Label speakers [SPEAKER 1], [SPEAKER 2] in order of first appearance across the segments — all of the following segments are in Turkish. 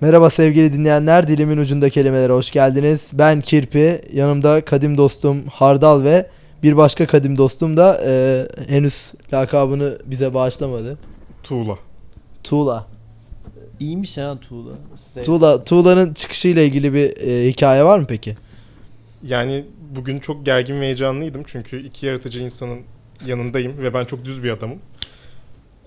[SPEAKER 1] Merhaba sevgili dinleyenler, dilimin ucunda kelimelere hoş geldiniz. Ben Kirpi, yanımda kadim dostum Hardal ve bir başka kadim dostum da e, henüz lakabını bize bağışlamadı.
[SPEAKER 2] Tuğla.
[SPEAKER 1] Tuğla.
[SPEAKER 3] İyiymiş ha Tuğla. Size-
[SPEAKER 1] Tuğla, Tuğla'nın çıkışıyla ilgili bir e, hikaye var mı peki?
[SPEAKER 2] Yani bugün çok gergin ve heyecanlıydım çünkü iki yaratıcı insanın yanındayım ve ben çok düz bir adamım.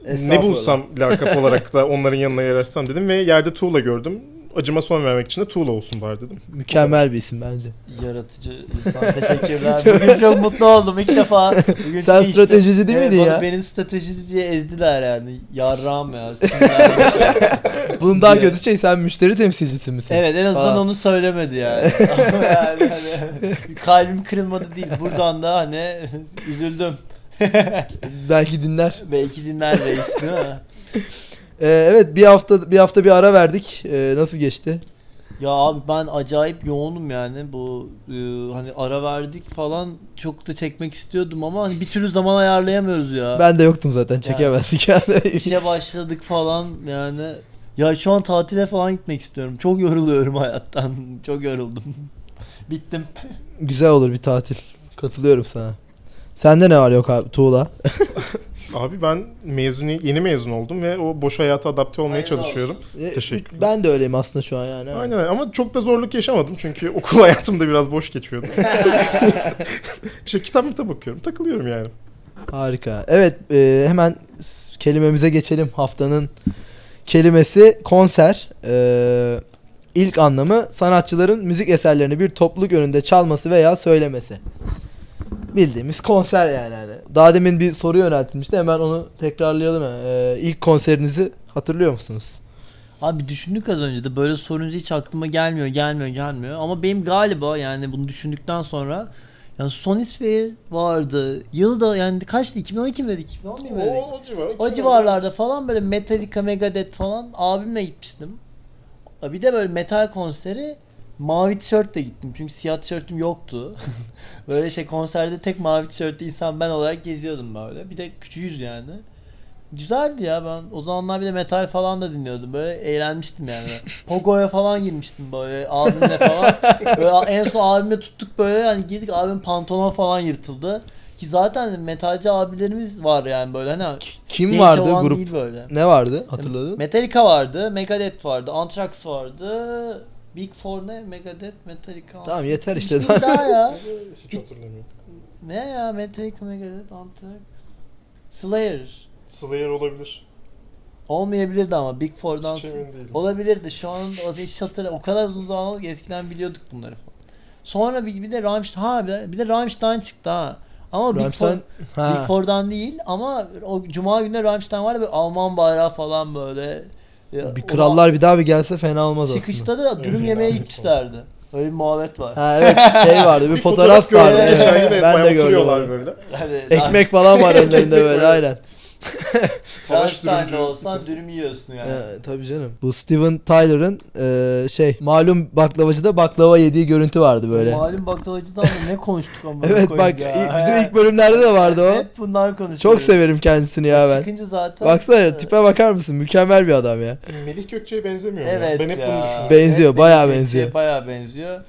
[SPEAKER 2] Ne
[SPEAKER 1] Estağfurullah.
[SPEAKER 2] bulsam lakap olarak da onların yanına yararsam dedim ve yerde Tuğla gördüm. Acıma son vermek için de Tuğla olsun bari dedim.
[SPEAKER 1] Mükemmel bir isim bence.
[SPEAKER 3] Yaratıcı insan teşekkürler. Bugün çok mutlu oldum ilk defa. Bugün
[SPEAKER 1] Sen
[SPEAKER 3] işte-
[SPEAKER 1] stratejici değil
[SPEAKER 3] Evet,
[SPEAKER 1] miydin
[SPEAKER 3] bana
[SPEAKER 1] ya?
[SPEAKER 3] Benim stratejisi diye ezdiler yani. Yarrağım ya. sinirlendim.
[SPEAKER 1] Bunun daha
[SPEAKER 3] diye.
[SPEAKER 1] kötü şey sen müşteri temsilcisi misin?
[SPEAKER 3] evet en azından
[SPEAKER 1] Aa.
[SPEAKER 3] onu söylemedi yani. Ama yani hani, kalbim kırılmadı değil. Buradan da hani üzüldüm.
[SPEAKER 1] Belki dinler.
[SPEAKER 3] Belki dinler reis değil mi?
[SPEAKER 1] E, evet bir hafta bir hafta bir ara verdik. E, nasıl geçti?
[SPEAKER 3] Ya abi ben acayip yoğunum yani bu e, hani ara verdik falan çok da çekmek istiyordum ama hani bir türlü zaman ayarlayamıyoruz ya.
[SPEAKER 1] Ben de yoktum zaten çekemezdik yani.
[SPEAKER 3] İşe başladık falan yani. Ya şu an tatile falan gitmek istiyorum. Çok yoruluyorum hayattan. Çok yoruldum. Bittim.
[SPEAKER 1] Güzel olur bir tatil. Katılıyorum sana. Sende ne var yok abi Tuğla?
[SPEAKER 2] Abi ben mezuni yeni mezun oldum ve o boş hayata adapte olmaya
[SPEAKER 3] Hayırlı
[SPEAKER 2] çalışıyorum. Teşekkürler.
[SPEAKER 1] E, Ben de öyleyim aslında şu an yani.
[SPEAKER 2] Aynen öyle. ama çok da zorluk yaşamadım çünkü okul hayatımda biraz boş geçiyordu. işte kitap kitap okuyorum takılıyorum yani.
[SPEAKER 1] Harika. Evet e, hemen s- kelimemize geçelim. Haftanın kelimesi konser. E, ilk anlamı sanatçıların müzik eserlerini bir topluluk önünde çalması veya söylemesi. Bildiğimiz konser yani. hani. Daha demin bir soru yöneltilmişti hemen onu tekrarlayalım. E, ilk konserinizi hatırlıyor musunuz?
[SPEAKER 3] Abi düşündük az önce de böyle sorunca hiç aklıma gelmiyor, gelmiyor, gelmiyor. Ama benim galiba yani bunu düşündükten sonra yani Sonisphere vardı. Yıl da yani kaçtı? 2012 mi dedik? 2011 mi dedik?
[SPEAKER 2] civar,
[SPEAKER 3] O civarlarda falan böyle Metallica, Megadeth falan abimle gitmiştim. Bir de böyle metal konseri mavi tişörtle gittim. Çünkü siyah tişörtüm yoktu. böyle şey konserde tek mavi tişörtlü insan ben olarak geziyordum böyle. Bir de küçüğüz yani. Güzeldi ya ben o zamanlar bir de metal falan da dinliyordum. Böyle eğlenmiştim yani. Pogo'ya falan girmiştim böyle abimle falan. Böyle en son abimle tuttuk böyle hani girdik abimin pantolonu falan yırtıldı. Ki zaten metalci abilerimiz var yani böyle hani
[SPEAKER 1] Kim
[SPEAKER 3] Genç
[SPEAKER 1] vardı
[SPEAKER 3] olan
[SPEAKER 1] grup?
[SPEAKER 3] değil böyle.
[SPEAKER 1] Ne vardı hatırladın?
[SPEAKER 3] Metallica vardı, Megadeth vardı, Anthrax vardı. Big Four ne? Megadeth, Metallica.
[SPEAKER 1] Tamam
[SPEAKER 3] Anthrax.
[SPEAKER 1] yeter
[SPEAKER 3] Üç
[SPEAKER 1] işte.
[SPEAKER 3] değil daha ya.
[SPEAKER 2] Hiç hatırlamıyorum.
[SPEAKER 3] Ne ya Metallica, Megadeth, Anthrax. Slayer.
[SPEAKER 2] Slayer olabilir.
[SPEAKER 3] Olmayabilirdi ama Big Four'dan.
[SPEAKER 2] Hiç emin değilim.
[SPEAKER 3] Olabilirdi şu an o hiç hatırla. O kadar uzun zaman oldu ki eskiden biliyorduk bunları falan. Sonra bir, bir de Rammstein ha bir de, bir de Rammstein çıktı ha. Ama Big Four,
[SPEAKER 1] Rammstein- Ha.
[SPEAKER 3] Big Four'dan değil ama o cuma günü Rammstein vardı böyle Alman bayrağı falan böyle. Ya,
[SPEAKER 1] Bir
[SPEAKER 3] o-
[SPEAKER 1] krallar bir daha bir gelse fena olmaz aslında.
[SPEAKER 3] Çıkışta da dürüm
[SPEAKER 2] Evet.
[SPEAKER 3] yemeğe gitmişlerdi. Öyle bir muhabbet var.
[SPEAKER 1] Ha evet şey vardı bir, fotoğraf, vardı.
[SPEAKER 2] gördüm.
[SPEAKER 1] evet.
[SPEAKER 2] Geçen gün de
[SPEAKER 1] ben de
[SPEAKER 2] bayağı
[SPEAKER 1] gördüm.
[SPEAKER 2] oturuyorlar
[SPEAKER 1] onu.
[SPEAKER 2] böyle.
[SPEAKER 3] Hani
[SPEAKER 1] Ekmek falan var ellerinde böyle aynen.
[SPEAKER 2] Savaş
[SPEAKER 3] tane
[SPEAKER 2] dürümcü.
[SPEAKER 3] olsan dürüm yiyorsun yani.
[SPEAKER 1] Ee, tabii canım. Bu Steven Tyler'ın eee, şey malum baklavacıda baklava yediği görüntü vardı böyle.
[SPEAKER 3] Malum baklavacıdan da ne konuştuk ama.
[SPEAKER 1] evet bak ilk- bizim ilk bölümlerde de vardı o.
[SPEAKER 3] Hep bunlar konuşuyoruz.
[SPEAKER 1] Çok severim kendisini ya ben.
[SPEAKER 3] Çıkınca zaten.
[SPEAKER 1] Baksana tipe bakar mısın? Mükemmel bir adam ya.
[SPEAKER 2] Melih Gökçe'ye benzemiyor mu?
[SPEAKER 3] Evet
[SPEAKER 2] Ben hep
[SPEAKER 3] ya.
[SPEAKER 2] bunu düşünüyorum.
[SPEAKER 1] Benziyor,
[SPEAKER 3] Evet,
[SPEAKER 1] bayağı
[SPEAKER 3] benim
[SPEAKER 1] benziyor.
[SPEAKER 3] Türkçe'ye Bayağı benziyor.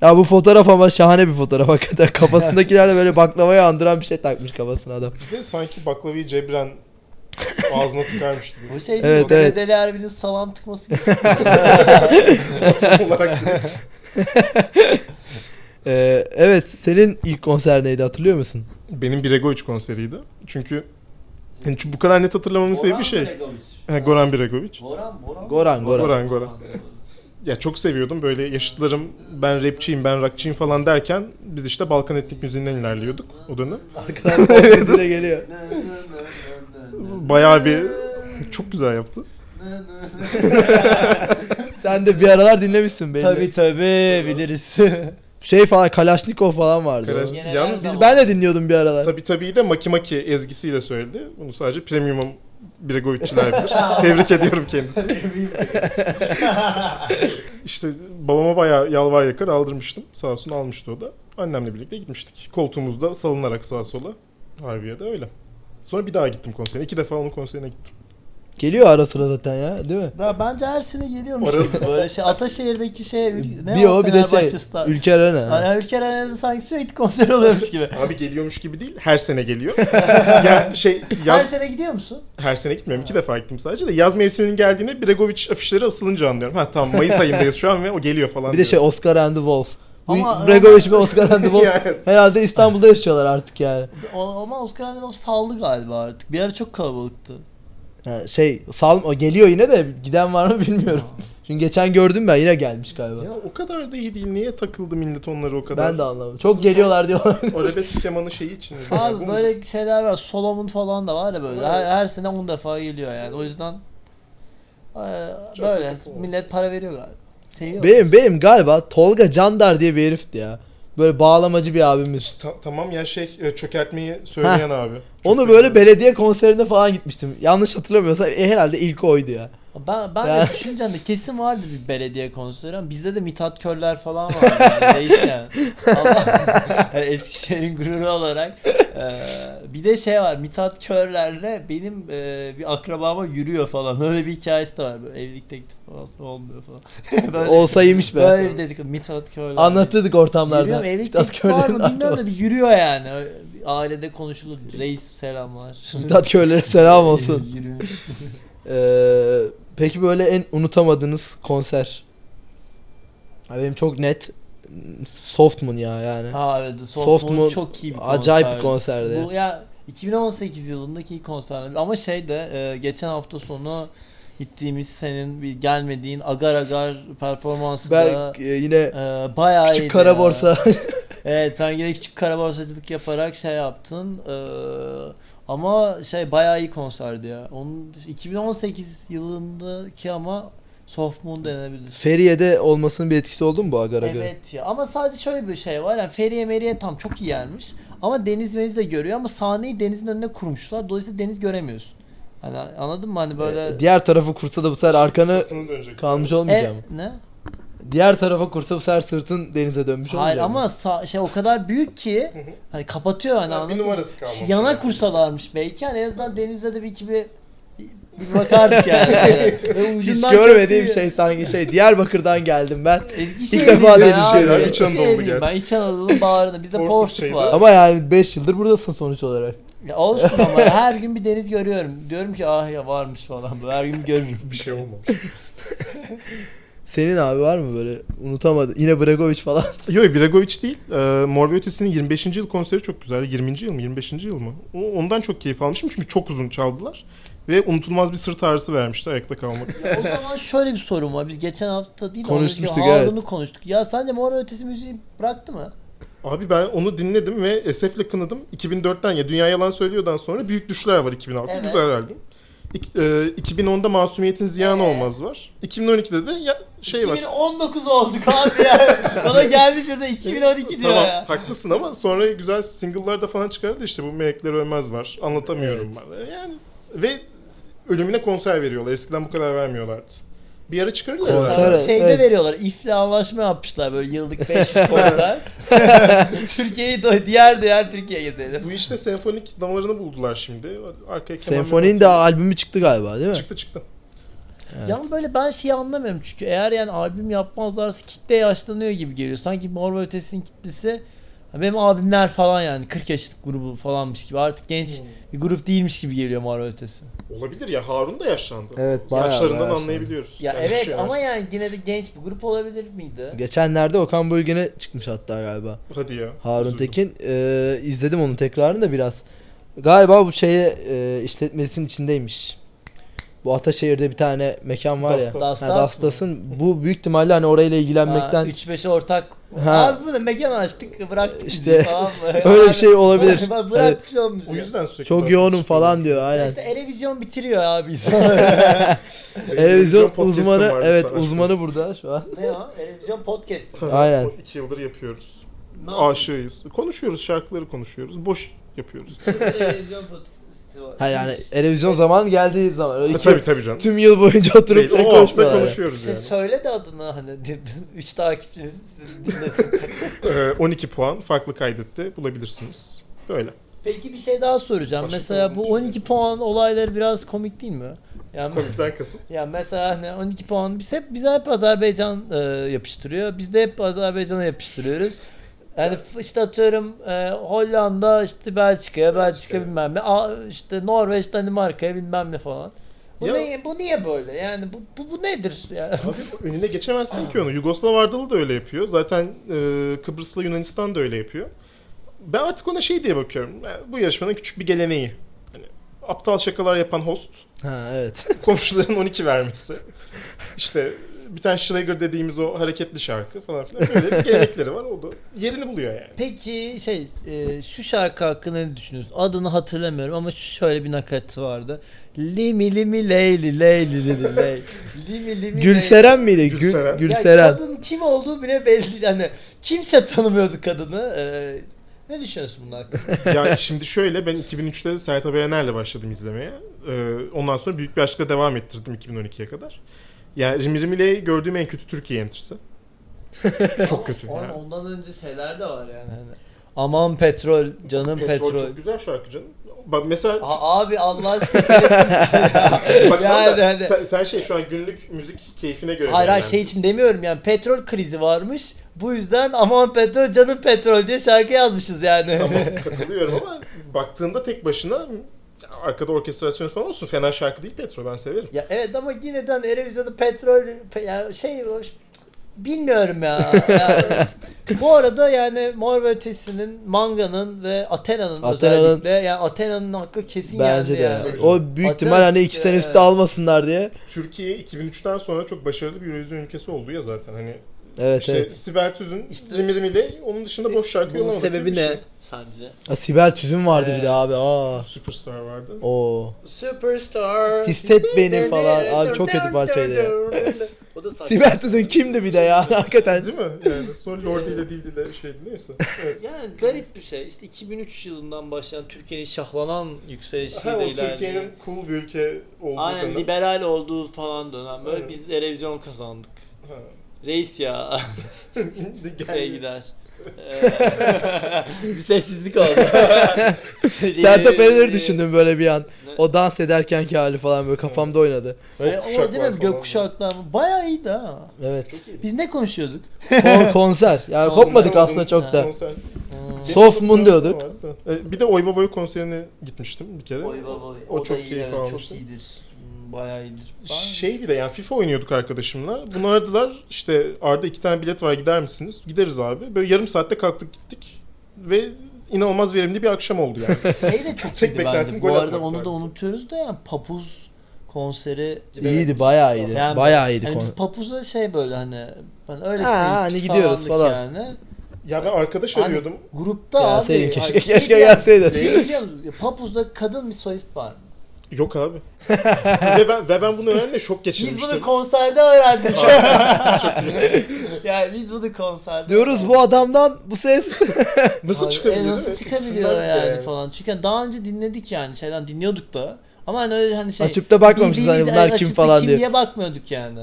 [SPEAKER 1] Ya bu fotoğraf ama şahane bir fotoğraf hakikaten. Kafasındakilerle böyle baklavayı andıran bir şey takmış kafasına adam.
[SPEAKER 2] Bir de sanki baklavayı cebren ağzına tıkarmış gibi.
[SPEAKER 3] Bu şey
[SPEAKER 1] Evet,
[SPEAKER 3] değil, mi?
[SPEAKER 1] evet.
[SPEAKER 3] Deli Erbil'in salam tıkması gibi.
[SPEAKER 2] Tam olarak değil.
[SPEAKER 1] Ee, evet senin ilk konser neydi hatırlıyor musun?
[SPEAKER 2] Benim Bregovic konseriydi. Çünkü yani çünkü bu kadar net hatırlamamın sebebi bir şey. Ha, Goran Bregovic.
[SPEAKER 3] Goran, Goran.
[SPEAKER 1] Goran, Goran.
[SPEAKER 2] Goran, Goran. Ya çok seviyordum böyle yaşıtlarım ben rapçiyim ben rockçıyım falan derken biz işte Balkan etnik müziğinden ilerliyorduk o dönem.
[SPEAKER 1] Arkadan de geliyor.
[SPEAKER 2] Bayağı bir çok güzel yaptı.
[SPEAKER 1] Sen de bir aralar dinlemişsin belli.
[SPEAKER 3] Tabi tabi biliriz.
[SPEAKER 1] Şey falan Kalaşnikov falan vardı.
[SPEAKER 2] Kalaş-
[SPEAKER 3] Genel
[SPEAKER 2] Yalnız
[SPEAKER 3] zaman.
[SPEAKER 1] Biz ben de dinliyordum bir aralar.
[SPEAKER 2] Tabii tabii de Maki Maki ezgisiyle söyledi. Bunu sadece premium Bregovic'çiler bilir. Tebrik ediyorum kendisini. İşte babama bayağı yalvar yakar aldırmıştım. Sağ olsun almıştı o da. Annemle birlikte gitmiştik. Koltuğumuzda salınarak sağa sola. Harbiye'de öyle. Sonra bir daha gittim konserine. İki defa onun konserine gittim.
[SPEAKER 1] Geliyor ara sıra zaten ya değil mi?
[SPEAKER 3] Ya bence her sene geliyormuş
[SPEAKER 2] Arada-
[SPEAKER 3] gibi böyle şey Ataşehir'deki şey ne
[SPEAKER 1] bir
[SPEAKER 3] o
[SPEAKER 1] o bir de şey
[SPEAKER 3] Fenerbahçe Star.
[SPEAKER 1] Ülker Arena.
[SPEAKER 3] Yani Ülker Arena'da sanki sürekli konser oluyormuş gibi.
[SPEAKER 2] Abi geliyormuş gibi değil. Her sene geliyor. yani şey
[SPEAKER 3] Her
[SPEAKER 2] yaz
[SPEAKER 3] sene gidiyor musun?
[SPEAKER 2] her sene gitmiyorum. iki defa gittim sadece de yaz mevsiminin geldiğini Bregovic afişleri asılınca anlıyorum. Ha tamam Mayıs ayındayız şu an ve o geliyor falan.
[SPEAKER 1] Bir de şey
[SPEAKER 2] diyorum.
[SPEAKER 1] Oscar and the Wolf. Bu
[SPEAKER 3] Ama-
[SPEAKER 1] Bregovic ve Oscar and the Wolf
[SPEAKER 2] Yani.
[SPEAKER 1] herhalde İstanbul'da yaşıyorlar artık yani.
[SPEAKER 3] O, ama Oscar Arena'da saldı galiba artık. Bir ara çok kalabalıktı.
[SPEAKER 1] Ha, şey sal o geliyor yine de giden var mı bilmiyorum. Çünkü geçen gördüm ben yine gelmiş galiba.
[SPEAKER 2] Ya o kadar da iyi değil. Niye takıldı millet onları o kadar?
[SPEAKER 1] Ben de anlamadım. Çok geliyorlar diyorlar.
[SPEAKER 2] Arabesk kemanın şeyi için.
[SPEAKER 3] Abi böyle şeyler var. Solomon falan da var ya böyle. Her,
[SPEAKER 2] Evet.
[SPEAKER 3] her sene 10 defa geliyor yani. O yüzden eee,
[SPEAKER 2] Çok
[SPEAKER 3] böyle
[SPEAKER 2] kötü oldu.
[SPEAKER 3] millet para veriyor galiba. Seviyor.
[SPEAKER 1] benim benim galiba Tolga Candar diye bir herifti ya. Böyle bağlamacı bir abimiz.
[SPEAKER 2] Ta- tamam ya şey e, çökertmeyi söyleyen abi. Çok
[SPEAKER 1] Onu
[SPEAKER 2] kötü.
[SPEAKER 1] böyle belediye konserine falan gitmiştim. Yanlış hatırlamıyorsam e, herhalde ilk oydu ya.
[SPEAKER 3] Ben, ben
[SPEAKER 1] Ya.
[SPEAKER 3] de düşüneceğim de kesin vardı bir belediye konseri ama bizde de Mithat Körler falan var. Yani, reis yani. Ama yani Eskişehir'in gururu olarak. eee, bir de şey var Mithat Körler'le benim eee, bir akrabama yürüyor falan. Öyle bir hikayesi de var. Böyle evlilikte gittim falan sonra olmuyor falan. Böyle-
[SPEAKER 1] Olsa iyiymiş be.
[SPEAKER 3] Böyle bir dedik Mithat Körler.
[SPEAKER 1] Anlatırdık ortamlarda.
[SPEAKER 3] Bilmiyorum evlilik
[SPEAKER 1] Mithat
[SPEAKER 3] teklifi var mı
[SPEAKER 1] Körler'in
[SPEAKER 3] bilmiyorum da
[SPEAKER 1] adı.
[SPEAKER 3] bir yürüyor yani. Öyle bir Ailede konuşulur. Reis selamlar.
[SPEAKER 1] Mithat Körler'e selam olsun.
[SPEAKER 3] Yürümüş.
[SPEAKER 1] Ee, peki böyle en unutamadığınız konser? Ya benim çok net Softman ya yani.
[SPEAKER 3] Ha evet The Soft,
[SPEAKER 1] Soft
[SPEAKER 3] Moon
[SPEAKER 1] Moon
[SPEAKER 3] çok iyi bir konserdi.
[SPEAKER 1] acayip bir konserdi.
[SPEAKER 3] Bu ya 2018 yılındaki ilk konserdi. Ama şey de e, geçen hafta sonu gittiğimiz senin bir gelmediğin agar agar performansı da
[SPEAKER 1] Belki yine
[SPEAKER 3] e, bayağı iyiydi
[SPEAKER 1] küçük kara
[SPEAKER 3] ya.
[SPEAKER 1] borsa.
[SPEAKER 3] Evet sen yine küçük kara borsacılık yaparak şey yaptın. Ee, ama şey bayağı iyi konserdi ya. Onun 2018 yılındaki ama Soft Moon denebilir.
[SPEAKER 1] Feriye'de olmasının bir etkisi oldu mu bu Agar Agar'ın?
[SPEAKER 3] Evet ya ama sadece şöyle bir şey var yani Feriye Meriye tam çok iyi yermiş ama deniz meniz de görüyor ama sahneyi denizin önüne kurmuşlar dolayısıyla deniz göremiyorsun. Hani anladın mı hani böyle
[SPEAKER 2] E,
[SPEAKER 1] Ee, Diğer tarafı kursa da bu sefer arkanı
[SPEAKER 2] Sırtını dönecek.
[SPEAKER 1] kalmış
[SPEAKER 3] E,
[SPEAKER 1] olmayacağım.
[SPEAKER 3] ne?
[SPEAKER 1] Diğer tarafa kursa bu sefer sırtın denize dönmüş
[SPEAKER 3] Hayır
[SPEAKER 1] olmayacak.
[SPEAKER 3] ama sa- şey o kadar büyük ki
[SPEAKER 2] hı.
[SPEAKER 3] hani kapatıyor hani
[SPEAKER 2] Ya bir
[SPEAKER 3] anladın
[SPEAKER 2] numarası kalmamış
[SPEAKER 3] Şey, Yana
[SPEAKER 2] olabilir.
[SPEAKER 3] kursalarmış belki yani en azından denizde de bir iki bir, bir bakardık yani. yani. Ve
[SPEAKER 1] hiç
[SPEAKER 3] ucundan çok
[SPEAKER 1] görmediğim
[SPEAKER 3] iyi-
[SPEAKER 1] şey sanki şey Diyarbakır'dan geldim ben.
[SPEAKER 3] Eskişehir'deyim
[SPEAKER 1] defa
[SPEAKER 3] ben
[SPEAKER 1] dediğin
[SPEAKER 3] abi,
[SPEAKER 1] şeyler.
[SPEAKER 2] İç
[SPEAKER 3] Eskişehir'deyim
[SPEAKER 2] Anadolu'lu
[SPEAKER 3] Ben İç Anadolu'nun bağrında bizde
[SPEAKER 2] Porsuk
[SPEAKER 3] Porsuk
[SPEAKER 2] şeyde.
[SPEAKER 3] var.
[SPEAKER 1] Ama yani 5 yıldır buradasın sonuç olarak.
[SPEAKER 3] Ya olsun ama her gün bir deniz görüyorum. Diyorum ki ah ya varmış falan. Böyle Her gün görürüm.
[SPEAKER 2] Bir şey olmamış.
[SPEAKER 1] Senin abi var mı böyle unutamadı yine Bregovic falan.
[SPEAKER 2] Yok Bregovic değil. Ee, Mor ve Ötesi'nin 25. yıl konseri çok güzeldi. 20. yıl mı 25. yıl mı? O, ondan çok keyif almışım çünkü çok uzun çaldılar. Ve unutulmaz bir sırt ağrısı vermişti ayakta kalmak.
[SPEAKER 3] o zaman şöyle bir sorun var. Biz geçen hafta değil de
[SPEAKER 1] Konuşmuştuk,
[SPEAKER 3] onun halini
[SPEAKER 1] evet.
[SPEAKER 3] konuştuk. Ya sence Mor ve Ötesi müziği bıraktı mı?
[SPEAKER 2] Abi ben onu dinledim ve esefle kınadım. 2004'ten ya Dünya Yalan Söylüyor'dan sonra Büyük Düşler var 2006.
[SPEAKER 3] Evet.
[SPEAKER 2] Güzel albüm. İk- e, 2010'da Masumiyetin Ziyan
[SPEAKER 3] Evet.
[SPEAKER 2] Olmaz var. 2012'de de ya, şey var.
[SPEAKER 3] 2019 olduk abi ya. Bana geldi şurada 2012 diyor
[SPEAKER 2] Tamam
[SPEAKER 3] ya.
[SPEAKER 2] haklısın ama sonra güzel single'lar da falan çıkardı işte bu Melekler Ölmez var. Anlatamıyorum ben. Yani ve ölümüne konser veriyorlar. Eskiden bu kadar vermiyorlardı. Bir ara çıkarırlar.
[SPEAKER 1] Konser-
[SPEAKER 2] herhalde.
[SPEAKER 1] Evet,
[SPEAKER 3] Şeyde
[SPEAKER 1] evet.
[SPEAKER 3] veriyorlar. İfle anlaşma yapmışlar böyle yıllık 500 konser. Türkiye'yi de diğer diğer Türkiye'ye gezelim.
[SPEAKER 2] Bu işte senfonik damarını buldular şimdi. Arkaya keman
[SPEAKER 1] Senfoni'nin de
[SPEAKER 2] yapıyor.
[SPEAKER 1] albümü çıktı galiba değil mi?
[SPEAKER 2] çıktı çıktı.
[SPEAKER 1] Evet.
[SPEAKER 3] Ya ama böyle ben şeyi anlamıyorum çünkü eğer yani albüm yapmazlarsa kitle yaşlanıyor gibi geliyor. Sanki Mor ve Ötesi'nin kitlesi ha benim abimler falan yani 40 yaşlık grubu falanmış gibi artık genç
[SPEAKER 2] Hmm.
[SPEAKER 3] bir grup değilmiş gibi geliyor Mor ve Ötesi.
[SPEAKER 2] Olabilir ya Harun da yaşlandı.
[SPEAKER 1] Evet, bayağı,
[SPEAKER 2] Saçlarından
[SPEAKER 1] bayağı
[SPEAKER 2] anlayabiliyoruz.
[SPEAKER 3] Ya
[SPEAKER 2] Yani
[SPEAKER 3] evet
[SPEAKER 2] şey
[SPEAKER 3] ama
[SPEAKER 2] var.
[SPEAKER 3] yani yine de genç bir grup olabilir miydi?
[SPEAKER 1] Geçenlerde Okan Bölgen'e çıkmış hatta galiba.
[SPEAKER 2] Hadi ya.
[SPEAKER 1] Harun
[SPEAKER 2] üzüldüm.
[SPEAKER 1] Tekin. Ee, izledim onun tekrarını da biraz. Galiba bu şeye e, işletmesinin içindeymiş. Bu Ataşehir'de bir tane mekan var ya.
[SPEAKER 2] Dastas.
[SPEAKER 1] Ha,
[SPEAKER 3] Dastas mı?
[SPEAKER 1] Dastas'ın. Bu büyük ihtimalle hani orayla
[SPEAKER 3] Ha,
[SPEAKER 1] ilgilenmekten
[SPEAKER 3] 3-5 ortak.
[SPEAKER 1] Ha.
[SPEAKER 3] Abi bu da mekan açtık bıraktık
[SPEAKER 1] İşte,
[SPEAKER 3] bizi falan. böyle.
[SPEAKER 1] öyle bir şey olabilir.
[SPEAKER 3] Bırak, bırak evet.
[SPEAKER 2] O yüzden sürekli
[SPEAKER 1] çok
[SPEAKER 2] dans
[SPEAKER 1] yoğunum
[SPEAKER 2] çıkıyor.
[SPEAKER 1] falan diyor aynen.
[SPEAKER 3] İşte Erevizyon bitiriyor abi.
[SPEAKER 1] Televizyon
[SPEAKER 2] podcast'ım
[SPEAKER 1] uzmanı
[SPEAKER 2] vardı
[SPEAKER 1] evet
[SPEAKER 2] falan.
[SPEAKER 1] uzmanı burada şu an.
[SPEAKER 3] ne o? Erevizyon podcast.
[SPEAKER 1] Aynen.
[SPEAKER 2] İki yıldır yapıyoruz.
[SPEAKER 3] Ne yapıyorsun?
[SPEAKER 2] Aşığıyız. Konuşuyoruz, şarkıları konuşuyoruz. Boş yapıyoruz.
[SPEAKER 3] Televizyon podcast'i var.
[SPEAKER 1] Hayır yani televizyon zaman geldiği zaman. Öyle
[SPEAKER 2] Ha,
[SPEAKER 1] iki-
[SPEAKER 2] tabii tabii canım.
[SPEAKER 1] Tüm yıl boyunca oturup
[SPEAKER 2] Değil,
[SPEAKER 1] tek
[SPEAKER 2] o hafta
[SPEAKER 1] konuşmuyorlar.
[SPEAKER 2] konuşuyoruz
[SPEAKER 3] İşte
[SPEAKER 2] yani.
[SPEAKER 3] şey söyle de adını hani üç takipçimiz sizi dinlesin.
[SPEAKER 2] Ee, 12 puan farklı kaydetti. Bulabilirsiniz. Böyle.
[SPEAKER 3] Peki bir şey daha soracağım.
[SPEAKER 2] Başka
[SPEAKER 3] Mesela
[SPEAKER 2] bir
[SPEAKER 3] bu
[SPEAKER 2] şey.
[SPEAKER 3] 12 puan olayları biraz komik değil mi? Yani,
[SPEAKER 2] Komikten kasıt.
[SPEAKER 3] ya mesela hani 12 puan biz hep biz hep Azerbaycan e, yapıştırıyor. Biz de hep Azerbaycan'a yapıştırıyoruz. Yani f- işte atıyorum e, Hollanda işte Belçika'ya, Belçika
[SPEAKER 2] Belçika'ya.
[SPEAKER 3] bilmem ne. A- işte Norveç, Danimarka'ya bilmem ne falan. Bu,
[SPEAKER 2] Ya-
[SPEAKER 3] ne, bu niye böyle? Yani bu, bu, bu nedir? Yani?
[SPEAKER 2] Abi önüne geçemezsin ki onu. Yugoslav Ardalı da öyle yapıyor. Zaten e, Kıbrıslı Yunanistan da öyle yapıyor. Ben artık ona şey diye bakıyorum. Ya, Bu yarışmanın küçük bir geleneği. Hani aptal şakalar yapan host,
[SPEAKER 1] Ha evet.
[SPEAKER 2] komşuların 12 vermesi. İşte bir tane Schlager dediğimiz o hareketli şarkı falan filan. Böyle bir gelenekleri var. O da yerini buluyor yani.
[SPEAKER 3] Peki şey e, şu şarkı hakkında ne düşünüyorsun? Adını hatırlamıyorum ama şöyle bir nakaratı vardı. Limi limi leyli leyli leyli ley. Limi limi leyli.
[SPEAKER 1] Gülseren miydi? Gül-
[SPEAKER 2] Gülseren.
[SPEAKER 1] Gülseren.
[SPEAKER 2] Ya
[SPEAKER 3] Ya kadın kim olduğu bile belli. Yani kimse tanımıyordu kadını. Ee, ne düşünüyorsun bunun hakkında?
[SPEAKER 2] yani şimdi şöyle ben 2003'te Sertab Erener'le başladım izlemeye. Ee, ondan sonra büyük bir aşkla devam ettirdim 2012'ye kadar. Yani Rimi Rimile'yi gördüğüm en kötü Türkiye enter'sı. Çok kötü
[SPEAKER 3] On-
[SPEAKER 2] yani.
[SPEAKER 3] Ondan önce şeyler de var yani. Hani, Aman petrol, canım petrol.
[SPEAKER 2] Çok güzel şarkı canım. Bak mesela
[SPEAKER 3] Aa, abi Allah aşkına. Ya,
[SPEAKER 2] bak sen, de-
[SPEAKER 3] hani-
[SPEAKER 2] sen, sen şey şu an günlük müzik keyfine göre.
[SPEAKER 3] Hayır hayır
[SPEAKER 2] değerlendiriyorsun.
[SPEAKER 3] şey için demiyorum yani petrol krizi varmış. Bu yüzden aman petrol canım petrol diye şarkı yazmışız yani.
[SPEAKER 2] Tamam katılıyorum ama baktığında tek başına arkada orkestrasyon falan olsun fena şarkı değil Petro ben severim.
[SPEAKER 3] ya evet ama yine de hani Erevizyon'da petrol pe- yani şey o- bilmiyorum ya. ya. bu arada yani Mor ve Ötesi'nin, Manga'nın ve Athena'nın
[SPEAKER 1] Athena'nın-
[SPEAKER 3] özellikle yani Athena'nın hakkı kesin
[SPEAKER 1] Bence
[SPEAKER 3] yendi
[SPEAKER 1] de.
[SPEAKER 3] yani.
[SPEAKER 1] yani. O büyük ihtimal
[SPEAKER 3] Atın-
[SPEAKER 1] hani iki sene
[SPEAKER 3] Evet.
[SPEAKER 1] üstü almasınlar diye.
[SPEAKER 2] Türkiye 2003'ten sonra çok başarılı bir Eurovision ülkesi oldu ya zaten hani
[SPEAKER 1] Evet
[SPEAKER 2] İşte
[SPEAKER 1] evet.
[SPEAKER 2] Sibel Tüz'ün
[SPEAKER 3] İşte-
[SPEAKER 2] Rimir Rimile onun dışında boş şarkı
[SPEAKER 3] Bunun
[SPEAKER 2] yollamadı.
[SPEAKER 3] sebebi
[SPEAKER 2] Bir şey.
[SPEAKER 3] ne sence?
[SPEAKER 1] Aa, Sibel Tüzün vardı bir
[SPEAKER 3] Ee,
[SPEAKER 1] de abi. Aa.
[SPEAKER 2] Superstar vardı.
[SPEAKER 1] Oo.
[SPEAKER 3] Superstar.
[SPEAKER 1] Hisset beni falan. Abi çok kötü parçaydı ya.
[SPEAKER 3] o da saçma.
[SPEAKER 1] Sibel Tüzün kimdi bir de ya hakikaten.
[SPEAKER 2] Değil mi? Yani sonra Lordi ile Dildi ile şeydi neyse. Evet.
[SPEAKER 3] Yani garip bir şey. İşte 2003 yılından başlayan Türkiye'nin şahlanan yükselişiyle
[SPEAKER 2] ha, o
[SPEAKER 3] şey ilerliyor.
[SPEAKER 2] Türkiye'nin cool bir ülke olduğu
[SPEAKER 3] Aynen
[SPEAKER 2] dönem.
[SPEAKER 3] liberal olduğu falan dönem. Böyle
[SPEAKER 2] Aynen.
[SPEAKER 3] biz televizyon kazandık.
[SPEAKER 2] Ha.
[SPEAKER 3] Reis ya. Şey
[SPEAKER 2] Gel.
[SPEAKER 3] gider. Ee, bir sessizlik oldu.
[SPEAKER 1] Sertab Erener'i düşündüm böyle bir an.
[SPEAKER 3] Ne?
[SPEAKER 1] O dans ederkenki hali falan böyle kafamda oynadı.
[SPEAKER 3] Böyle,
[SPEAKER 2] Gökkuşak
[SPEAKER 3] o değil
[SPEAKER 2] var
[SPEAKER 3] mi?
[SPEAKER 2] falan.
[SPEAKER 3] Gökkuşaklar. Bayağı iyiydi ha.
[SPEAKER 1] Evet.
[SPEAKER 3] Biz ne konuşuyorduk?
[SPEAKER 1] Kon- konser. Yani
[SPEAKER 3] Konser.
[SPEAKER 1] kopmadık aslında çok da.
[SPEAKER 2] Konser. Hmm.
[SPEAKER 1] Soft Moon diyorduk.
[SPEAKER 2] Ee, Bir de Oy Vavoy konserine gitmiştim bir kere.
[SPEAKER 3] Oy vavoy.
[SPEAKER 2] O
[SPEAKER 3] da
[SPEAKER 2] çok
[SPEAKER 3] iyi,
[SPEAKER 2] keyif
[SPEAKER 3] evet, Çok
[SPEAKER 2] almıştım.
[SPEAKER 3] iyidir. Hmm, Bayağı iyidir.
[SPEAKER 2] Şey bir de yani FIFA oynuyorduk arkadaşımla. Bunu aradılar işte Arda iki tane bilet var gider misiniz? Gideriz abi. Böyle yarım saatte kalktık gittik. Ve inanılmaz verimli bir akşam oldu yani.
[SPEAKER 3] şey de çok
[SPEAKER 2] Tek
[SPEAKER 3] iyiydi
[SPEAKER 2] beklentim
[SPEAKER 3] bence.
[SPEAKER 2] gol
[SPEAKER 3] Bu arada
[SPEAKER 2] atmaktı
[SPEAKER 3] onu
[SPEAKER 2] abi.
[SPEAKER 3] da unutuyoruz da yani Papuz konseri
[SPEAKER 1] İyiydi bayağı iyiydi.
[SPEAKER 3] Yani
[SPEAKER 1] bayağı iyiydi
[SPEAKER 3] hani biz
[SPEAKER 1] kon.
[SPEAKER 3] Papuz'a şey böyle hani ben öyle
[SPEAKER 1] Ha, hani gidiyoruz falan.
[SPEAKER 3] yani.
[SPEAKER 2] ya ben arkadaş
[SPEAKER 3] Hani
[SPEAKER 2] arıyordum.
[SPEAKER 3] grupta
[SPEAKER 1] Gelseydin
[SPEAKER 3] abi.
[SPEAKER 1] keşke-
[SPEAKER 3] hani şey
[SPEAKER 1] keşke
[SPEAKER 3] diyen-
[SPEAKER 1] gelseydin.
[SPEAKER 3] Şey biliyor musun? Ya Papuz'da kadın bir solist var. mı?
[SPEAKER 2] Yok abi. ve, ben, ve ben bunu öğrenme şok
[SPEAKER 3] Biz
[SPEAKER 2] geçirmiştim.
[SPEAKER 3] bunu konserde öğrendik. yani biz bunu konserde
[SPEAKER 1] Diyoruz bu adamdan bu ses.
[SPEAKER 2] Nasıl
[SPEAKER 3] Abi,
[SPEAKER 2] çıkabiliyor?
[SPEAKER 3] e,
[SPEAKER 2] değil
[SPEAKER 3] Nasıl
[SPEAKER 2] mi?
[SPEAKER 3] çıkabiliyor
[SPEAKER 2] İkisinden de
[SPEAKER 3] yani, falan. Çünkü hani daha önce dinledik yani şeyden dinliyorduk da. Ama hani öyle hani şey.
[SPEAKER 1] Açıp da bakmamışız hani
[SPEAKER 3] bildiğimiz-
[SPEAKER 1] bunlar kim
[SPEAKER 3] açıp da
[SPEAKER 1] falan
[SPEAKER 3] kim
[SPEAKER 1] diye.
[SPEAKER 3] bakmıyorduk yani.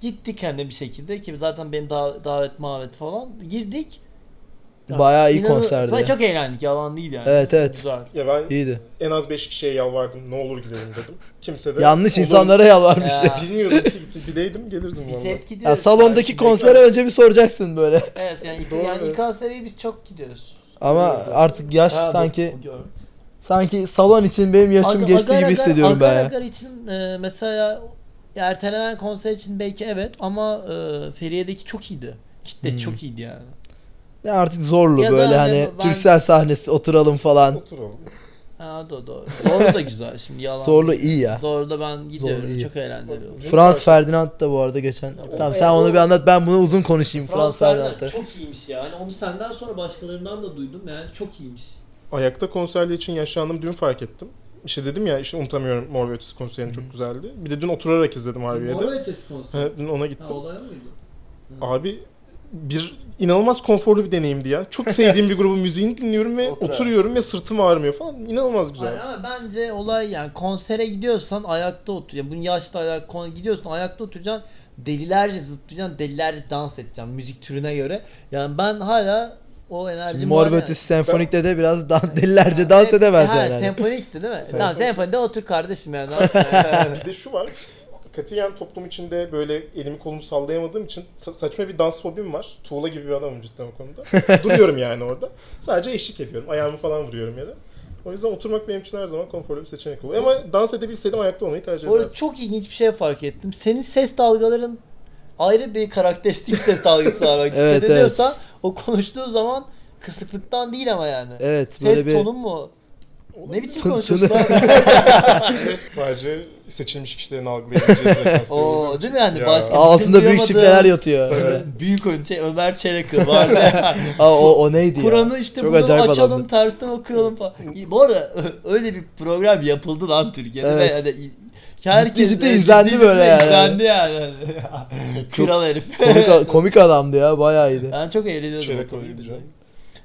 [SPEAKER 3] Gittik hani bir şekilde ki zaten benim da- davet mavet falan girdik. Ya,
[SPEAKER 1] Bayağı iyi
[SPEAKER 3] inanın-
[SPEAKER 1] konserdi
[SPEAKER 3] Bayağı
[SPEAKER 1] ya.
[SPEAKER 3] Çok eğlendik yalan değil yani.
[SPEAKER 1] Evet, evet.
[SPEAKER 3] Güzel.
[SPEAKER 2] Ya ben
[SPEAKER 1] İyiydi.
[SPEAKER 2] en az 5 kişiye yalvardım. Ne olur gidelim dedim. Kimse de...
[SPEAKER 1] Yanlış
[SPEAKER 2] olur-
[SPEAKER 1] insanlara yalvarmış.
[SPEAKER 3] Ya.
[SPEAKER 1] Ya.
[SPEAKER 2] Bilmiyordum ki bileydim gelirdim
[SPEAKER 3] Biz
[SPEAKER 2] valla.
[SPEAKER 3] hep gidiyoruz.
[SPEAKER 1] salondaki
[SPEAKER 3] yani.
[SPEAKER 1] konsere önce bir soracaksın böyle.
[SPEAKER 3] Evet yani,
[SPEAKER 2] Doğru.
[SPEAKER 3] yani İKSV'ye biz çok gidiyoruz.
[SPEAKER 1] Ama artık yaş
[SPEAKER 3] Ha, bu-
[SPEAKER 1] sanki
[SPEAKER 3] bu-
[SPEAKER 1] sanki salon için benim yaşım
[SPEAKER 3] Aga-
[SPEAKER 1] geçti
[SPEAKER 3] agar
[SPEAKER 1] gibi
[SPEAKER 3] agar-
[SPEAKER 1] hissediyorum
[SPEAKER 3] agar
[SPEAKER 1] ben ya.
[SPEAKER 3] Agar için e, mesela ya ertelenen konser için belki evet ama e, Feriye'deki çok iyiydi. Kitle
[SPEAKER 1] Hmm.
[SPEAKER 3] çok iyiydi yani.
[SPEAKER 1] Ya artık zorlu
[SPEAKER 3] Ya da
[SPEAKER 1] böyle
[SPEAKER 3] hani
[SPEAKER 1] hani
[SPEAKER 3] ben-
[SPEAKER 1] Türksel sahnesi oturalım falan.
[SPEAKER 2] Oturalım.
[SPEAKER 3] Ha do doğru. Zorlu da güzel şimdi yalan.
[SPEAKER 1] Zorlu iyi ya.
[SPEAKER 3] Zorlu da ben gidiyorum.
[SPEAKER 1] Zorlu iyi.
[SPEAKER 3] çok eğlenceli oldu.
[SPEAKER 2] Dün
[SPEAKER 1] Frans
[SPEAKER 2] karşı-
[SPEAKER 1] Ferdinand da bu arada geçen.
[SPEAKER 3] Ya,
[SPEAKER 1] Tamam
[SPEAKER 3] o-
[SPEAKER 1] sen onu
[SPEAKER 3] o-
[SPEAKER 1] bir anlat ben bunu uzun konuşayım Frans Ferdinand'ı.
[SPEAKER 3] çok iyiymiş yani. Onu senden sonra başkalarından da duydum yani çok iyiymiş.
[SPEAKER 2] Ayakta konserli için yaşandım dün fark ettim. İşte dedim ya işte unutamıyorum Mor ve Ötesi konserini çok güzeldi. Bir de dün oturarak izledim Harbiye'de.
[SPEAKER 3] ötesi
[SPEAKER 2] Ha,
[SPEAKER 3] konseri.
[SPEAKER 2] dün ona gittim.
[SPEAKER 3] olay mıydı?
[SPEAKER 2] Abi bir inanılmaz konforlu bir deneyimdi ya. Çok sevdiğim bir grubun müziğini dinliyorum ve
[SPEAKER 1] Oturarak.
[SPEAKER 2] oturuyorum ve sırtım ağrımıyor falan. İnanılmaz güzel.
[SPEAKER 3] Ay, ama bence olay yani konsere gidiyorsan ayakta otur. Yani bunun yaşlı ayak kon- gidiyorsun ayakta oturacaksın. Delilerce zıplayacaksın, delilerce dans edeceksin müzik türüne göre. Yani ben hala o enerjim
[SPEAKER 1] Şimdi Mor
[SPEAKER 3] var
[SPEAKER 1] ve
[SPEAKER 3] yani.
[SPEAKER 1] Ötesi Senfonik'te de biraz dan, delilerce dans
[SPEAKER 3] Evet,
[SPEAKER 1] edemez
[SPEAKER 3] ha,
[SPEAKER 1] yani.
[SPEAKER 3] Senfonikti değil mi? Tamam
[SPEAKER 2] Senfonik.
[SPEAKER 3] senfonide otur kardeşim yani.
[SPEAKER 2] bir de şu var. Katiyen toplum içinde böyle elimi kolumu sallayamadığım için sa- saçma bir dans fobim var. Tuğla gibi bir adamım cidden o konuda. Duruyorum yani orada. Sadece eşlik ediyorum. Ayağımı falan vuruyorum yere. O yüzden oturmak benim için her zaman konforlu bir seçenek oluyor. Ama dans edebilseydim ayakta olmayı tercih
[SPEAKER 3] Bu arada
[SPEAKER 2] ederdim.
[SPEAKER 3] çok ilginç bir şey fark ettim. Senin ses dalgaların ayrı bir karakteristik ses dalgası var. Bak,
[SPEAKER 1] Evet,
[SPEAKER 3] evet,
[SPEAKER 1] evet.
[SPEAKER 3] ediyorsan o konuştuğu zaman kısıklıktan değil ama yani.
[SPEAKER 1] Evet
[SPEAKER 3] ses
[SPEAKER 1] böyle bir
[SPEAKER 3] tonun mu? Ne biçim
[SPEAKER 1] Tın-
[SPEAKER 3] konuşuyorsun
[SPEAKER 1] tını-
[SPEAKER 3] abi?
[SPEAKER 2] Sadece seçilmiş kişilerin algılayabileceği bir referans.
[SPEAKER 3] Oo, değil mi yani?
[SPEAKER 2] Ya.
[SPEAKER 3] Başka
[SPEAKER 1] altında büyük
[SPEAKER 3] duyamadım.
[SPEAKER 1] şifreler yatıyor.
[SPEAKER 2] Tabii.
[SPEAKER 3] Büyük önce Ömer Çelebi vardı. ya.
[SPEAKER 1] Aa, o, o neydi ya?
[SPEAKER 3] Kur'an'ı işte
[SPEAKER 1] Çok
[SPEAKER 3] bunu
[SPEAKER 1] acayip
[SPEAKER 3] açalım
[SPEAKER 1] adamdı.
[SPEAKER 3] tersten okuyalım falan. Bu arada ö- öyle bir program yapıldı lan Türkiye'de
[SPEAKER 1] Evet.
[SPEAKER 3] ve hani herkes
[SPEAKER 1] ciddi izlendi böyle yani.
[SPEAKER 3] izlendi yani. Kral herif.
[SPEAKER 1] Komik, a- komik adamdı ya bayağı iyiydi.
[SPEAKER 3] Ben çok eğleniyordum
[SPEAKER 2] Çeyrek
[SPEAKER 3] o konuyu
[SPEAKER 2] oyuncu.
[SPEAKER 3] izlerken.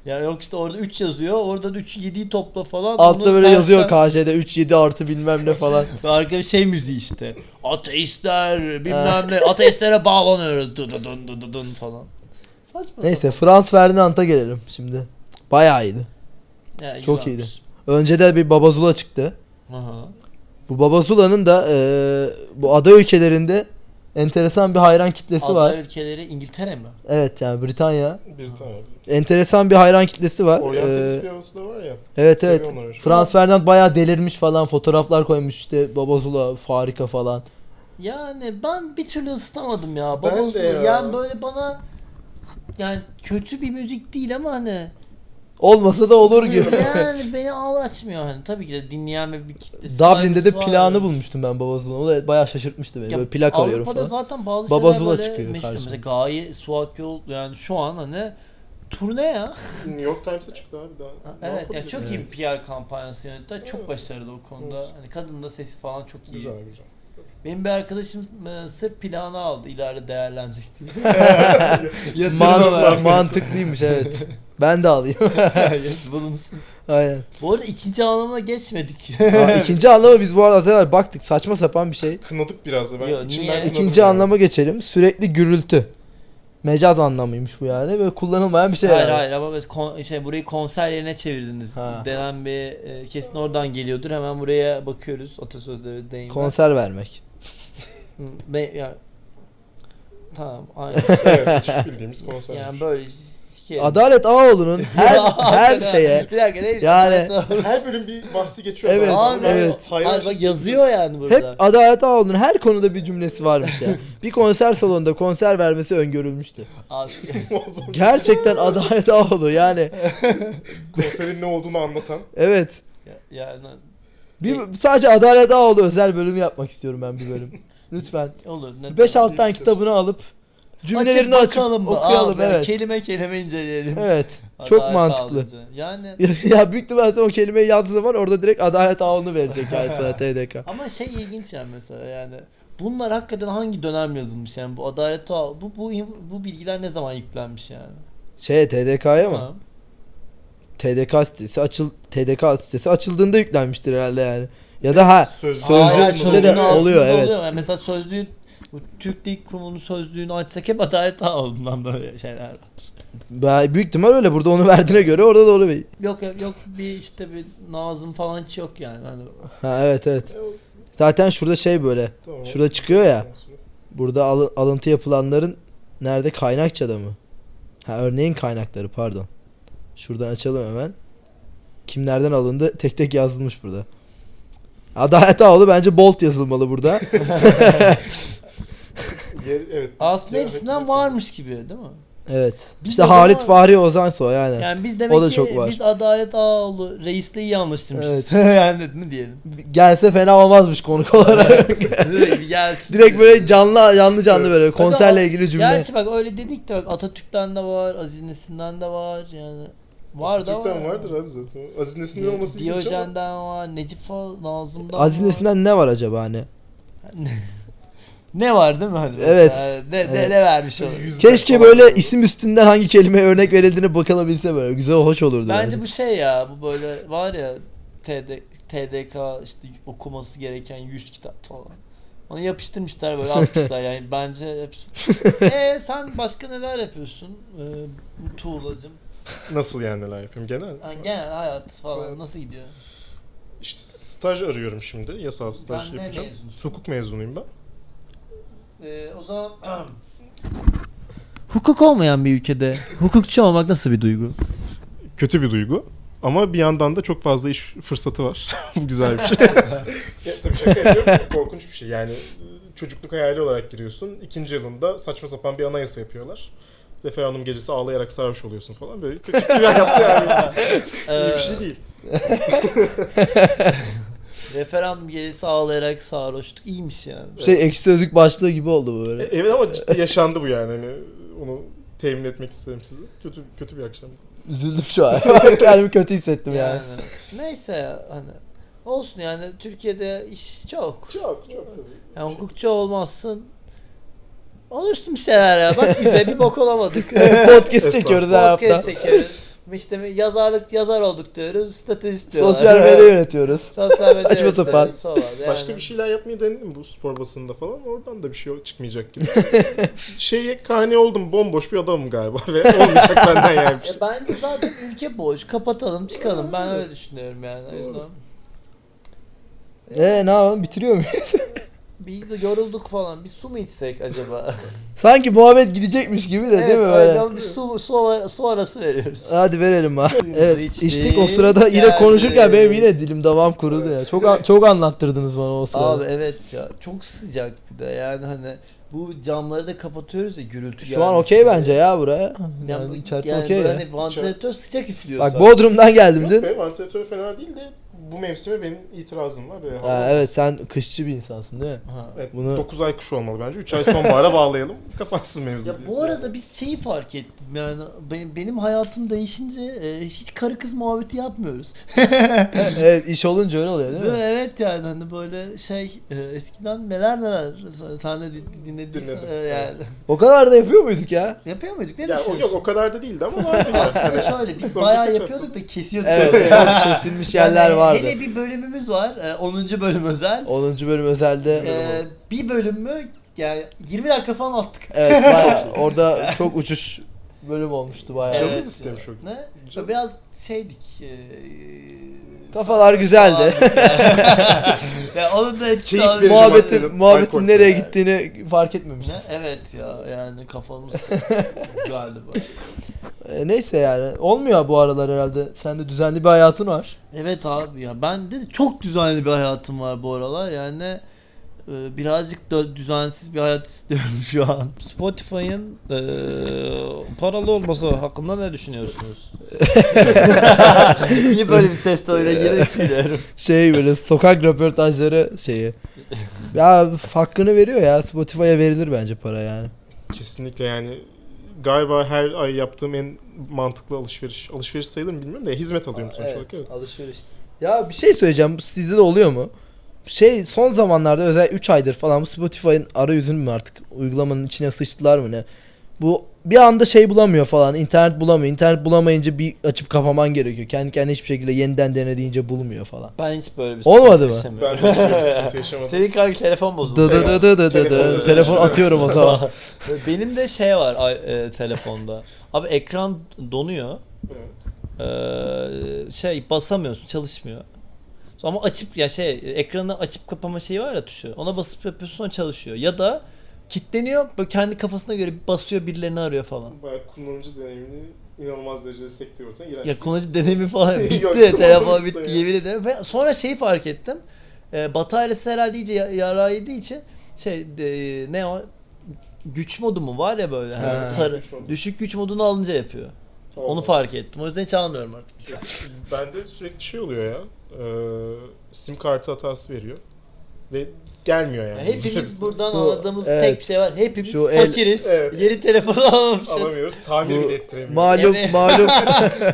[SPEAKER 3] Ya yok işte orada 3 yazıyor. Oradan 3 7'yi topla falan.
[SPEAKER 1] Altta
[SPEAKER 3] onu
[SPEAKER 1] böyle yazıyor
[SPEAKER 3] tersten-
[SPEAKER 1] KJ'de 3 7 artı bilmem ne falan.
[SPEAKER 3] Ve arkada şey müziği işte. Ateistler bilmem ne. Ateistlere bağlanıyoruz. Dun dun dun dun dun dun falan. Saçma
[SPEAKER 1] Neyse Frans Ferdinand'a gelelim şimdi. Bayağı iyiydi.
[SPEAKER 3] sapan. Ya,
[SPEAKER 1] çok
[SPEAKER 3] güzelmiş.
[SPEAKER 1] Önce de bir Babazula çıktı.
[SPEAKER 3] Aha.
[SPEAKER 1] Bu Babazula'nın da eee, bu ada ülkelerinde enteresan bir hayran kitlesi
[SPEAKER 3] Ada
[SPEAKER 1] var.
[SPEAKER 3] ülkeleri İngiltere mi?
[SPEAKER 1] Evet yani Britanya.
[SPEAKER 2] Bir tane.
[SPEAKER 1] Enteresan bir hayran kitlesi var.
[SPEAKER 3] Ee,
[SPEAKER 2] Oryantalist
[SPEAKER 1] Eee,
[SPEAKER 2] bir havası da var ya.
[SPEAKER 1] evet
[SPEAKER 2] seviyor
[SPEAKER 1] evet.
[SPEAKER 2] onları.
[SPEAKER 1] Frans Ferdinand bayağı delirmiş falan fotoğraflar koymuş işte Babazula farika falan.
[SPEAKER 3] Yani ben bir türlü ısıtamadım ya.
[SPEAKER 2] Ben
[SPEAKER 3] Babasını.
[SPEAKER 2] de ya.
[SPEAKER 3] Yani böyle bana yani kötü bir müzik değil ama hani
[SPEAKER 1] Olmasa da olur gibi.
[SPEAKER 3] yani beni ağla açmıyor hani tabii ki de dinleyen bir kitlesi
[SPEAKER 1] Dublin'de de
[SPEAKER 3] saygısı var
[SPEAKER 1] planı
[SPEAKER 3] yani.
[SPEAKER 1] bulmuştum ben Babazula'nın. O da bayağı şaşırtmıştı beni.
[SPEAKER 3] Ya
[SPEAKER 1] böyle plak arıyorum
[SPEAKER 3] Avrupa'da
[SPEAKER 1] falan.
[SPEAKER 3] zaten bazı
[SPEAKER 1] Baba
[SPEAKER 3] şeyler
[SPEAKER 1] Zula
[SPEAKER 3] böyle
[SPEAKER 1] çıkıyor
[SPEAKER 3] meşhur.
[SPEAKER 1] karşıma.
[SPEAKER 3] Mesela Gaye, Suat Yol yani şu an hani turne ya.
[SPEAKER 2] New York Times'a çıktı abi daha.
[SPEAKER 3] Ha,
[SPEAKER 2] Ne
[SPEAKER 3] evet ya
[SPEAKER 2] yapabilirim?
[SPEAKER 3] çok iyi bir PR kampanyası yönetti. Çok
[SPEAKER 2] Evet.
[SPEAKER 3] başarılı o konuda.
[SPEAKER 2] Evet.
[SPEAKER 3] Hani kadının da sesi falan çok iyi.
[SPEAKER 2] Güzel güzel.
[SPEAKER 3] Benim bir arkadaşım e, sırf planı aldı ileride değerlenecek diye.
[SPEAKER 1] Mant-
[SPEAKER 3] Yatırım olarak.
[SPEAKER 1] mantıklıymış evet. Ben de alayım.
[SPEAKER 3] Yes, bulunsun.
[SPEAKER 1] Aynen.
[SPEAKER 3] Bu arada ikinci anlamına geçmedik.
[SPEAKER 1] Aa, ikinci anlama biz bu arada az evvel baktık saçma sapan bir şey.
[SPEAKER 2] Kınadık biraz da ben.
[SPEAKER 3] Yo,
[SPEAKER 2] İçimden
[SPEAKER 3] niye?
[SPEAKER 2] kınadım
[SPEAKER 1] İkinci
[SPEAKER 2] yani.
[SPEAKER 1] anlama geçelim. Sürekli gürültü. Mecaz anlamıymış bu yani. Böyle kullanılmayan bir şey.
[SPEAKER 3] hayır
[SPEAKER 1] yani.
[SPEAKER 3] hayır ama biz kon- şey, burayı konser yerine çevirdiniz
[SPEAKER 1] Ha.
[SPEAKER 3] denen bir e, kesin oradan geliyordur. Hemen buraya bakıyoruz atasözleri deyimler.
[SPEAKER 1] Konser vermek.
[SPEAKER 3] Hı, Be, ya, tamam aynen.
[SPEAKER 2] Evet, hiç bildiğimiz konser.
[SPEAKER 3] yani böyle sikerim.
[SPEAKER 1] Adalet Ağaoğlu'nun her, her şeye.
[SPEAKER 3] Bir dakika neymiş?
[SPEAKER 1] Yani-
[SPEAKER 2] Her bölüm bir bahsi geçiyor.
[SPEAKER 1] Evet,
[SPEAKER 2] Abi,
[SPEAKER 1] evet.
[SPEAKER 2] hayran
[SPEAKER 3] Hayır bak
[SPEAKER 2] şekilde.
[SPEAKER 3] yazıyor yani burada.
[SPEAKER 1] Hep Adalet Ağaoğlu'nun her konuda bir cümlesi varmış ya. Bir konser salonunda konser vermesi öngörülmüştü.
[SPEAKER 3] Abi,
[SPEAKER 2] Muazzam.
[SPEAKER 1] Gerçekten Adalet Ağaoğlu yani.
[SPEAKER 2] Konserin ne olduğunu anlatan.
[SPEAKER 1] Evet.
[SPEAKER 3] ya- yani
[SPEAKER 1] Bir, sadece Adalet Ağaoğlu özel bölüm yapmak istiyorum ben bir bölüm. Lütfen.
[SPEAKER 3] olur. ne-
[SPEAKER 1] 5-6 tane kitabını alıp cümlelerini açıp,
[SPEAKER 3] bakalım mı?
[SPEAKER 1] okuyalım
[SPEAKER 3] Abi,
[SPEAKER 1] evet.
[SPEAKER 3] Kelime kelime inceleyelim.
[SPEAKER 1] Evet. Çok
[SPEAKER 3] Adalet
[SPEAKER 1] mantıklı.
[SPEAKER 3] Ağlıca. Yani
[SPEAKER 1] ya büyük ihtimalle sen o kelimeyi yazdığı zaman orada direkt Adalet Ağaoğlu'nu verecek yani sana TDK.
[SPEAKER 3] ama şey ilginç yani mesela yani bunlar hakikaten hangi dönem yazılmış yani bu adalet Ağa- bu bu bu bilgiler ne zaman yüklenmiş yani?
[SPEAKER 1] Şey TDK'ya mı?
[SPEAKER 3] Ha.
[SPEAKER 1] TDK sitesi açıl TDK sitesi açıldığında yüklenmiştir herhalde yani. Ya da ha
[SPEAKER 2] Söz-
[SPEAKER 1] sözlüğün
[SPEAKER 3] Aa, yani
[SPEAKER 1] içinde de
[SPEAKER 3] sözlüğün altında
[SPEAKER 1] oluyor evet.
[SPEAKER 3] Yani mesela sözlüğün bu Türk Dil Kurumu'nun sözlüğünü açsak hep adalet ağından böyle şeyler. var.
[SPEAKER 1] Ben- Büyük ihtimal öyle burada onu verdiğine göre orada da oluyor.
[SPEAKER 3] Yok yok yok bir işte bir Nazım falan hiç yok yani. Hani
[SPEAKER 1] Ha evet evet. Zaten şurada şey böyle.
[SPEAKER 2] E, Tamam.
[SPEAKER 1] Şurada çıkıyor ya. Burada alı- alıntı yapılanların nerede kaynakçada mı? Ha örneğin kaynakları pardon. Şuradan açalım hemen. Kimlerden alındı? Tek tek yazılmış burada. Adalet Ağaoğlu bence bolt yazılmalı burada.
[SPEAKER 2] Yer- evet.
[SPEAKER 3] aslında
[SPEAKER 2] Yer-
[SPEAKER 3] hepsinden varmış gibi değil mi?
[SPEAKER 1] evet.
[SPEAKER 3] Biz
[SPEAKER 1] işte
[SPEAKER 3] o zaman-
[SPEAKER 1] Halit Fahri Ozan Soy aynen.
[SPEAKER 3] Yani biz demek
[SPEAKER 1] O da
[SPEAKER 3] ki
[SPEAKER 1] çok var.
[SPEAKER 3] biz Adalet Ağaoğlu reisle iyi anlaştırmışız. yani ne diyelim.
[SPEAKER 1] Gelse fena olmazmış konuk olarak.
[SPEAKER 3] Gelsin.
[SPEAKER 1] Direkt böyle canlı canlı canlı
[SPEAKER 2] Evet.
[SPEAKER 1] böyle konserle
[SPEAKER 3] Aga,
[SPEAKER 1] ilgili cümle.
[SPEAKER 3] Gerçi bak öyle dedik de bak Atatürk'ten de var, Aziz Nesin'den de var yani. Var da var.
[SPEAKER 2] Türk'ten vardır abi zaten. Aziz Nesin'in olması ilginç ama.
[SPEAKER 3] Diyojen'den var, Necip Fal, Nazım'dan
[SPEAKER 1] Aziz
[SPEAKER 3] var.
[SPEAKER 1] Nesin'den ne var acaba hani?
[SPEAKER 3] Ne var değil mi hani?
[SPEAKER 1] Evet.
[SPEAKER 3] Yani ne, ne,
[SPEAKER 1] Evet.
[SPEAKER 3] ne vermiş olur.
[SPEAKER 2] Yüzden
[SPEAKER 1] Keşke
[SPEAKER 2] falan
[SPEAKER 1] böyle isim üstünden hangi kelimeye örnek verildiğini bakılabilse böyle güzel hoş olurdu.
[SPEAKER 3] Bence bu şey ya bu böyle var ya TD, TDK işte okuması gereken 100 kitap falan. Onu yapıştırmışlar böyle atmışlar yani E, bence hepsi. Eee sen başka neler yapıyorsun ee, E, Tuğla'cım?
[SPEAKER 2] Nasıl yani neler yapıyorum genel?
[SPEAKER 3] Yani genel hayat
[SPEAKER 2] Evet.
[SPEAKER 3] falan nasıl gidiyor?
[SPEAKER 2] İşte staj arıyorum şimdi. Yasal staj
[SPEAKER 3] Ben ne
[SPEAKER 2] yapacağım.
[SPEAKER 3] mezunusun?
[SPEAKER 2] Hukuk mezunuyum ben.
[SPEAKER 3] Ee, o zaman hukuk olmayan bir ülkede hukukçu olmak nasıl bir duygu?
[SPEAKER 2] Kötü bir duygu. Ama bir yandan da çok fazla iş fırsatı var. Bu güzel bir şey. ya, tabii şaka yapıyorum. Korkunç bir şey. Yani e, çocukluk hayali olarak giriyorsun. İkinci yılında saçma sapan bir anayasa yapıyorlar. Referandum gecesi ağlayarak sarhoş oluyorsun falan. Böyle kötü bir hayat yani. İyi bir şey değil.
[SPEAKER 3] Referandum gelesi ağlayarak sarhoştuk. İyiymiş yani.
[SPEAKER 1] Şey ekşi sözlük başlığı gibi oldu bu
[SPEAKER 2] E,
[SPEAKER 1] böyle.
[SPEAKER 2] Evet ama ciddi yaşandı bu yani. Hani onu temin etmek isterim size. Kötü kötü bir akşam.
[SPEAKER 1] Üzüldüm şu an. Kendimi kötü hissettim yani.
[SPEAKER 3] Neyse ya, hani olsun yani Türkiye'de iş çok.
[SPEAKER 2] Çok çok tabii.
[SPEAKER 3] Yani hukukçu olmazsın. Olursun bir şeyler ya. Bak bize bir bok olamadık.
[SPEAKER 1] Podcast çekiyoruz her hafta.
[SPEAKER 3] Podcast çekiyoruz. İşte yazarlık yazar olduk diyoruz. Statist diyorlar.
[SPEAKER 1] Sosyal medya yönetiyoruz.
[SPEAKER 3] Sosyal medya
[SPEAKER 1] Saçma
[SPEAKER 3] yönetiyoruz,
[SPEAKER 1] sapan.
[SPEAKER 3] sola, yani.
[SPEAKER 2] Başka bir şey şeyler yapmayı denedim bu spor basında falan. Oradan da bir şey çıkmayacak gibi. Şeye kani oldum. Bomboş bir adamım galiba ve olmayacak benden yani bir şey.
[SPEAKER 3] E bence zaten ülke boş. Kapatalım çıkalım. Ben öyle düşünüyorum yani. O yüzden
[SPEAKER 2] Doğru.
[SPEAKER 1] Eee E, ne yapalım bitiriyor muyuz?
[SPEAKER 3] bir de yorulduk falan. Bir su mu içsek acaba?
[SPEAKER 1] Sanki muhabbet gidecekmiş gibi de değil mi
[SPEAKER 3] öyle
[SPEAKER 1] böyle?
[SPEAKER 3] ama bir su, su, ara- su arası veriyoruz.
[SPEAKER 1] Hadi verelim ha. Evet
[SPEAKER 3] İçtik,
[SPEAKER 1] içtik o sırada yine
[SPEAKER 3] geldi.
[SPEAKER 1] konuşurken benim yine dilim davam kurudu ya. Çok an- çok anlattırdınız bana o sırada.
[SPEAKER 3] Abi evet ya çok sıcak bir de yani hani bu camları da kapatıyoruz ya gürültü
[SPEAKER 1] Şu an okey bence ya buraya.
[SPEAKER 3] Yani,
[SPEAKER 1] şey Yani
[SPEAKER 3] bu-
[SPEAKER 1] içerisi
[SPEAKER 3] yani
[SPEAKER 1] okey
[SPEAKER 3] böyle
[SPEAKER 1] ya.
[SPEAKER 3] hani vantilatör sıcak üflüyor.
[SPEAKER 1] Bak
[SPEAKER 3] sadece.
[SPEAKER 1] Bodrum'dan geldim
[SPEAKER 2] Yok
[SPEAKER 1] dün.
[SPEAKER 2] be, vantilatör fena değil de bu mevsime benim itirazım var. Ve
[SPEAKER 1] Ha,
[SPEAKER 2] hava-
[SPEAKER 1] evet sen kışçı bir insansın değil mi?
[SPEAKER 3] Ha.
[SPEAKER 2] Evet,
[SPEAKER 1] Bunu-
[SPEAKER 2] 9 ay kış olmalı bence. 3 ay sonbahara bağlayalım. Kapansın mevzu.
[SPEAKER 3] Ya bu arada biz şeyi fark ettim yani benim, benim hayatım değişince e, hiç karı kız muhabbeti yapmıyoruz.
[SPEAKER 1] evet iş olunca öyle oluyor değil
[SPEAKER 3] Değil mi?
[SPEAKER 1] mi?
[SPEAKER 3] Evet yani hani böyle şey e, eskiden neler neler sen- sen de din- dinlediysen
[SPEAKER 2] Dinledim,
[SPEAKER 3] e, yani.
[SPEAKER 1] O kadar da yapıyor muyduk ya?
[SPEAKER 3] Yapıyor muyduk ne
[SPEAKER 2] Ya, o,
[SPEAKER 3] şey düşünüyorsun?
[SPEAKER 2] yok o kadar da değildi ama vardı yani.
[SPEAKER 3] Aslında
[SPEAKER 2] Hani
[SPEAKER 3] şöyle biz
[SPEAKER 2] son
[SPEAKER 3] bayağı
[SPEAKER 2] birkaç
[SPEAKER 3] yapıyorduk da kesiyorduk.
[SPEAKER 1] Evet çok kesilmiş yerler
[SPEAKER 3] Yani
[SPEAKER 1] vardı.
[SPEAKER 3] Hele bir bölümümüz var e, 10. bölüm özel.
[SPEAKER 1] 10. bölüm özelde.
[SPEAKER 3] E, bir bölüm mü yani 20 dakika falan attık.
[SPEAKER 1] Evet bayağı- orada çok uçuş bölüm olmuştu bayağı.
[SPEAKER 2] Canımız istemiş o gün.
[SPEAKER 3] Ne?
[SPEAKER 2] Canım-
[SPEAKER 3] Biraz şeydik. E,
[SPEAKER 1] Kafalar güzeldi.
[SPEAKER 3] ya onun da etkisi
[SPEAKER 2] Keyif
[SPEAKER 3] abi-
[SPEAKER 2] verici
[SPEAKER 1] muhabbetin
[SPEAKER 2] maddenin
[SPEAKER 1] muhabbetin
[SPEAKER 2] alkol.
[SPEAKER 1] nereye gittiğini fark etmemiştik.
[SPEAKER 3] Ne? Evet ya yani kafamız galiba.
[SPEAKER 1] E, neyse yani. Olmuyor bu aralar herhalde. Sen de düzenli bir hayatın var.
[SPEAKER 3] Evet abi ya ben de çok düzenli bir hayatım var bu aralar yani e, birazcık da düzensiz bir hayat istiyorum şu an.
[SPEAKER 4] Spotify'ın eee, paralı olması hakkında ne düşünüyorsunuz?
[SPEAKER 3] İyi böyle bir ses tonuyla girip çıkıyorum.
[SPEAKER 1] Şey böyle sokak röportajları şeyi. Ya hakkını veriyor ya. Spotify'a verilir bence para yani.
[SPEAKER 2] Kesinlikle yani galiba her ay yaptığım en mantıklı alışveriş. Alışveriş sayılır mı bilmiyorum da hizmet alıyorum sonuç olarak. Evet.
[SPEAKER 1] alışveriş. Ya bir şey söyleyeceğim. Bu Sizde de oluyor mu? Şey son zamanlarda özel 3 aydır falan bu Spotify'ın arayüzünü mü artık uygulamanın içine sıçtılar mı ne? Bu bir anda şey bulamıyor falan. internet bulamıyor. İnternet bulamayınca bir açıp kapaman gerekiyor. Kendi kendine hiçbir şekilde yeniden denediğince bulmuyor falan.
[SPEAKER 3] Ben hiç böyle bir
[SPEAKER 1] Olmadı
[SPEAKER 3] sıkıntı
[SPEAKER 1] mı?
[SPEAKER 2] Ben
[SPEAKER 3] yaşamıyorum.
[SPEAKER 2] de hiçbir sıkıntı yaşamadım.
[SPEAKER 3] Senin kanka telefon bozuldu.
[SPEAKER 1] Dı dı dı dı dı dı dı.
[SPEAKER 2] Telefon-
[SPEAKER 1] Telefon atıyorum o zaman.
[SPEAKER 4] Benim de şey var ay- e, telefonda. Abi ekran donuyor.
[SPEAKER 2] Evet.
[SPEAKER 4] Eee, şey basamıyorsun çalışmıyor. Ama açıp ya şey ekranı açıp kapama şeyi var ya tuşu. Ona basıp yapıyorsun o çalışıyor. Ya da kitleniyor böyle kendi kafasına göre bir basıyor birilerini arıyor falan.
[SPEAKER 2] Bayağı kullanıcı deneyimini inanılmaz derecede sektiriyor ortadan. şey. İğrenç.
[SPEAKER 4] Ya kullanıcı deneyimi falan
[SPEAKER 2] Yok,
[SPEAKER 4] bitti. telefon
[SPEAKER 2] kullanıcı
[SPEAKER 4] bitti
[SPEAKER 2] sayı.
[SPEAKER 4] yemin ederim. Ve sonra şeyi fark ettim. E, Batı ailesi herhalde iyice ya- yarağı yediği için şey e, ne o güç modu mu var ya böyle hani
[SPEAKER 1] Ha.
[SPEAKER 4] sarı
[SPEAKER 2] Güç modu.
[SPEAKER 4] düşük güç modunu alınca yapıyor.
[SPEAKER 2] Tamam.
[SPEAKER 4] Onu fark ettim. O yüzden hiç almıyorum artık.
[SPEAKER 2] Bende sürekli şey oluyor ya. eee, sim kartı hatası veriyor. Ve gelmiyor yani.
[SPEAKER 3] Hepimiz buradan
[SPEAKER 1] Bu-
[SPEAKER 3] anladığımız
[SPEAKER 1] evet.
[SPEAKER 3] tek bir şey var. Hepimiz
[SPEAKER 1] Şu el-
[SPEAKER 3] fakiriz.
[SPEAKER 2] Evet.
[SPEAKER 3] Yeni telefon alamamışız.
[SPEAKER 2] Alamıyoruz. Tamir
[SPEAKER 1] Bu-
[SPEAKER 2] bile ettiremiyoruz.
[SPEAKER 1] Malum
[SPEAKER 3] Evet.
[SPEAKER 1] malum.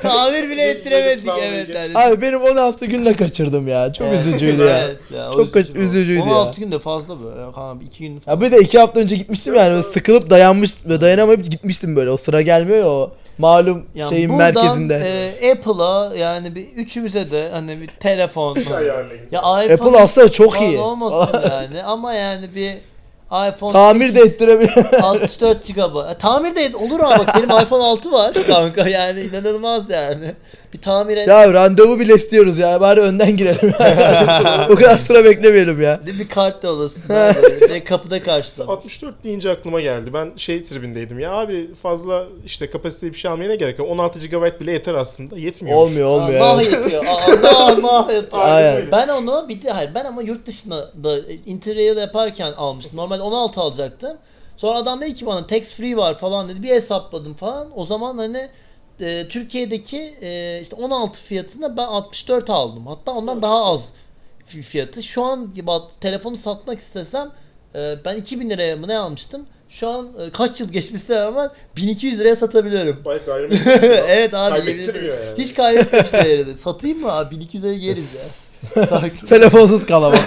[SPEAKER 3] Tamir
[SPEAKER 2] Yeni-
[SPEAKER 3] bile ettiremedik.
[SPEAKER 2] yeni
[SPEAKER 3] Evet
[SPEAKER 2] sınavları
[SPEAKER 3] yani.
[SPEAKER 1] Abi benim 16 günle kaçırdım ya. Çok
[SPEAKER 3] Evet.
[SPEAKER 1] üzücüydü ya.
[SPEAKER 3] Evet ya, o
[SPEAKER 1] Çok kaç-
[SPEAKER 3] oldu.
[SPEAKER 1] üzücüydü ya.
[SPEAKER 3] 16 gün de fazla böyle. Ya Kanka 2 gün falan.
[SPEAKER 1] Ya bir de iki hafta önce gitmiştim yani böyle sıkılıp dayanmış ve dayanamayıp gitmiştim böyle. O sıra gelmiyor ya o malum
[SPEAKER 3] Yani
[SPEAKER 1] şeyin
[SPEAKER 3] buradan,
[SPEAKER 1] merkezinde.
[SPEAKER 3] e, Apple'a yani bir üçümüze de hani bir telefon.
[SPEAKER 2] Ayarlayın.
[SPEAKER 3] ya iPhone
[SPEAKER 1] Apple aslında çok
[SPEAKER 3] falan
[SPEAKER 1] iyi.
[SPEAKER 3] olmasın yani ama yani bir iPhone
[SPEAKER 1] Tamir de
[SPEAKER 3] 8,
[SPEAKER 1] ettirebilir.
[SPEAKER 3] 64 GB. E, Tamir de et- olur ama bak benim iPhone 6 var kanka yani inanılmaz yani. Bir tamir et.
[SPEAKER 1] ya randevu bile istiyoruz ya. Bari önden girelim. o kadar sıra beklemeyelim ya.
[SPEAKER 3] Değil mi? Bir kart da olasın. böyle. Bir de kapıda karşılamak.
[SPEAKER 2] 64 deyince aklıma geldi. Ben şey tribindeydim ya abi fazla işte kapasiteli bir şey almaya ne gerek var? 16 GB bile yeter aslında. Yetmiyor.
[SPEAKER 1] Olmuyor olmuyor.
[SPEAKER 3] Allah
[SPEAKER 1] evet.
[SPEAKER 3] yetiyor. Allah Allah yetiyor.
[SPEAKER 1] Aynen.
[SPEAKER 3] Ben onu bir de hayır ben ama yurt dışında da Interrail yaparken almıştım. Normalde 16 alacaktım. Sonra adam dedi ki bana tax free var falan dedi. Bir hesapladım falan. O zaman hani e, Türkiye'deki e, işte 16 fiyatına ben 64 aldım. Hatta ondan daha az fi- fiyatı. Şu an bat- telefonu satmak istesem e, ben 2000 liraya mı ne almıştım? Şu an e, kaç yıl geçmesine rağmen 1200 liraya satabiliyorum.
[SPEAKER 2] Bayağı şey
[SPEAKER 3] evet abi. yemin
[SPEAKER 2] Kaybettirmiyor
[SPEAKER 3] ederim.
[SPEAKER 2] yani.
[SPEAKER 3] Hiç kaybetmemiş değerini. Satayım mı abi? 1200 liraya yeriz ya. Bak,
[SPEAKER 1] Telefonsuz kalamaz.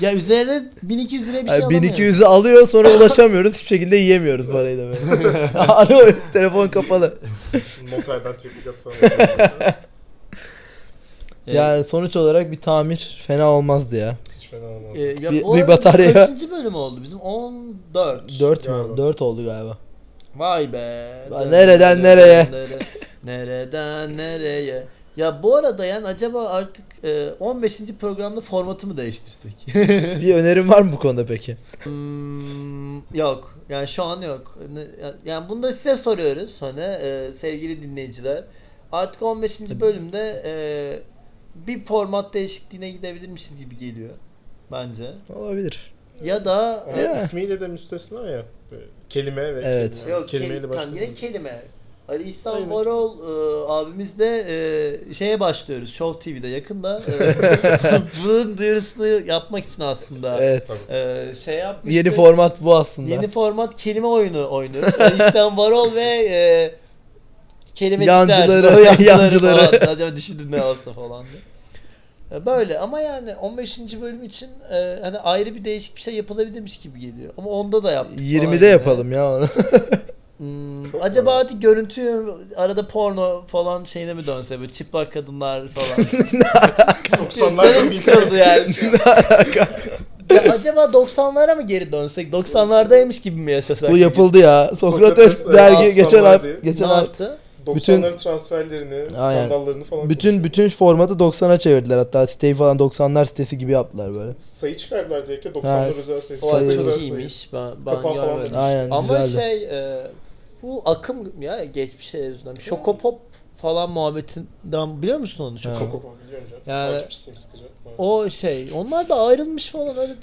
[SPEAKER 3] ya üzerine 1200 liraya bir şey
[SPEAKER 1] Yani
[SPEAKER 3] alamıyorum.
[SPEAKER 1] 1200'ü alıyor sonra ulaşamıyoruz. Hiçbir şekilde yiyemiyoruz parayı da böyle. Alo telefon kapalı.
[SPEAKER 2] Noterden tebligat falan. yapıyorlar.
[SPEAKER 3] Evet.
[SPEAKER 1] Yani sonuç olarak bir tamir fena olmazdı ya.
[SPEAKER 2] Hiç fena olmaz.
[SPEAKER 3] Ee, ya
[SPEAKER 1] bir-
[SPEAKER 3] bu
[SPEAKER 1] bir
[SPEAKER 3] arada
[SPEAKER 1] batarya-
[SPEAKER 3] Kaçıncı bölüm oldu bizim? 14.
[SPEAKER 1] 4 mü?
[SPEAKER 2] Galiba.
[SPEAKER 1] 4 oldu galiba.
[SPEAKER 3] Vay be.
[SPEAKER 1] Lan nereden nereye?
[SPEAKER 3] nere- Nereden nereye? Ya bu arada yani acaba artık e, 15. programda formatı mı değiştirsek?
[SPEAKER 1] Bir önerim var mı bu konuda peki?
[SPEAKER 3] Hmm, yok. Yani şu an yok. Ne- Yani bunu da size soruyoruz. Hani e, sevgili dinleyiciler. Artık 15. bölümde e, bir format değişikliğine gidebilirmişiz gibi geliyor. Bence.
[SPEAKER 1] Olabilir.
[SPEAKER 3] Ya da
[SPEAKER 2] Ama
[SPEAKER 3] e,
[SPEAKER 1] Ya.
[SPEAKER 2] Hani ismiyle de müstesna ya. Böyle Kelime ve
[SPEAKER 1] Evet.
[SPEAKER 2] kelime.
[SPEAKER 3] yok
[SPEAKER 2] kelimeyle
[SPEAKER 3] kelime,
[SPEAKER 2] başka
[SPEAKER 3] tam yine
[SPEAKER 2] bir-
[SPEAKER 3] kelime. Ali İhsan
[SPEAKER 2] Aynen.
[SPEAKER 3] Varol e, abimizle e, şeye başlıyoruz. Show TV'de yakında. E, bunun duyurusunu yapmak için aslında.
[SPEAKER 1] Evet.
[SPEAKER 2] Tabii.
[SPEAKER 3] E, şey yapmıştık.
[SPEAKER 1] Yeni format bu aslında.
[SPEAKER 3] Ee, Yeni format kelime oyunu oynuyoruz. Yani İhsan Varol ve e, kelimeciler.
[SPEAKER 1] Yancıları,
[SPEAKER 3] Böyle
[SPEAKER 1] yancıları.
[SPEAKER 3] Falan. Acaba düşündüm ne olsa falan diye. E, Böyle ama yani 15. bölüm için e, hani ayrı bir değişik bir şey yapılabilirmiş gibi geliyor. Ama onda da yaptık. falan
[SPEAKER 1] 20'de
[SPEAKER 3] yine.
[SPEAKER 1] yapalım ya onu.
[SPEAKER 3] Hmm,
[SPEAKER 2] Çok
[SPEAKER 3] acaba
[SPEAKER 2] var.
[SPEAKER 3] artık görüntü arada porno falan şeyine mi dönse böyle çıplak kadınlar falan.
[SPEAKER 2] 90'larda bir insan.
[SPEAKER 3] sıkıldı yani. ya acaba 90'lara mı geri dönsek? 90'lardaymış gibi mi yaşasak?
[SPEAKER 1] bu yapıldı ya. Sokrates,
[SPEAKER 2] Sokrates,
[SPEAKER 1] dergi
[SPEAKER 2] Absalom
[SPEAKER 1] geçen hafta
[SPEAKER 2] diye.
[SPEAKER 1] geçen
[SPEAKER 3] ne
[SPEAKER 1] hafta
[SPEAKER 3] yaptı?
[SPEAKER 1] Bütün-
[SPEAKER 2] 90'ların transferlerini, skandallarını falan.
[SPEAKER 1] bütün bütün formatı 90'a çevirdiler hatta siteyi falan 90'lar sitesi gibi yaptılar böyle.
[SPEAKER 2] sayı çıkardılar direkt ya
[SPEAKER 1] Ha,
[SPEAKER 2] 90'lar özel sayısı.
[SPEAKER 3] O
[SPEAKER 1] Sayı-
[SPEAKER 2] Sayı-
[SPEAKER 3] ay
[SPEAKER 2] özel
[SPEAKER 3] çok
[SPEAKER 2] sayı.
[SPEAKER 3] iyiymiş. Ben, ben
[SPEAKER 2] Kapağı falan
[SPEAKER 3] görmedim.
[SPEAKER 2] vermiş.
[SPEAKER 1] Aynen
[SPEAKER 3] Ama
[SPEAKER 1] güzeldi.
[SPEAKER 3] şey e, bu akım ya geçmiş şey yüzünden. Şokopop falan muhabbetinden biliyor musun onu?
[SPEAKER 1] Ha.
[SPEAKER 3] Şokopop.
[SPEAKER 2] Çok okumak biliyorum canım.
[SPEAKER 3] Yani-
[SPEAKER 2] Takipçisiyim sıkıca.
[SPEAKER 3] O şey. Onlar da ayrılmış falan öyle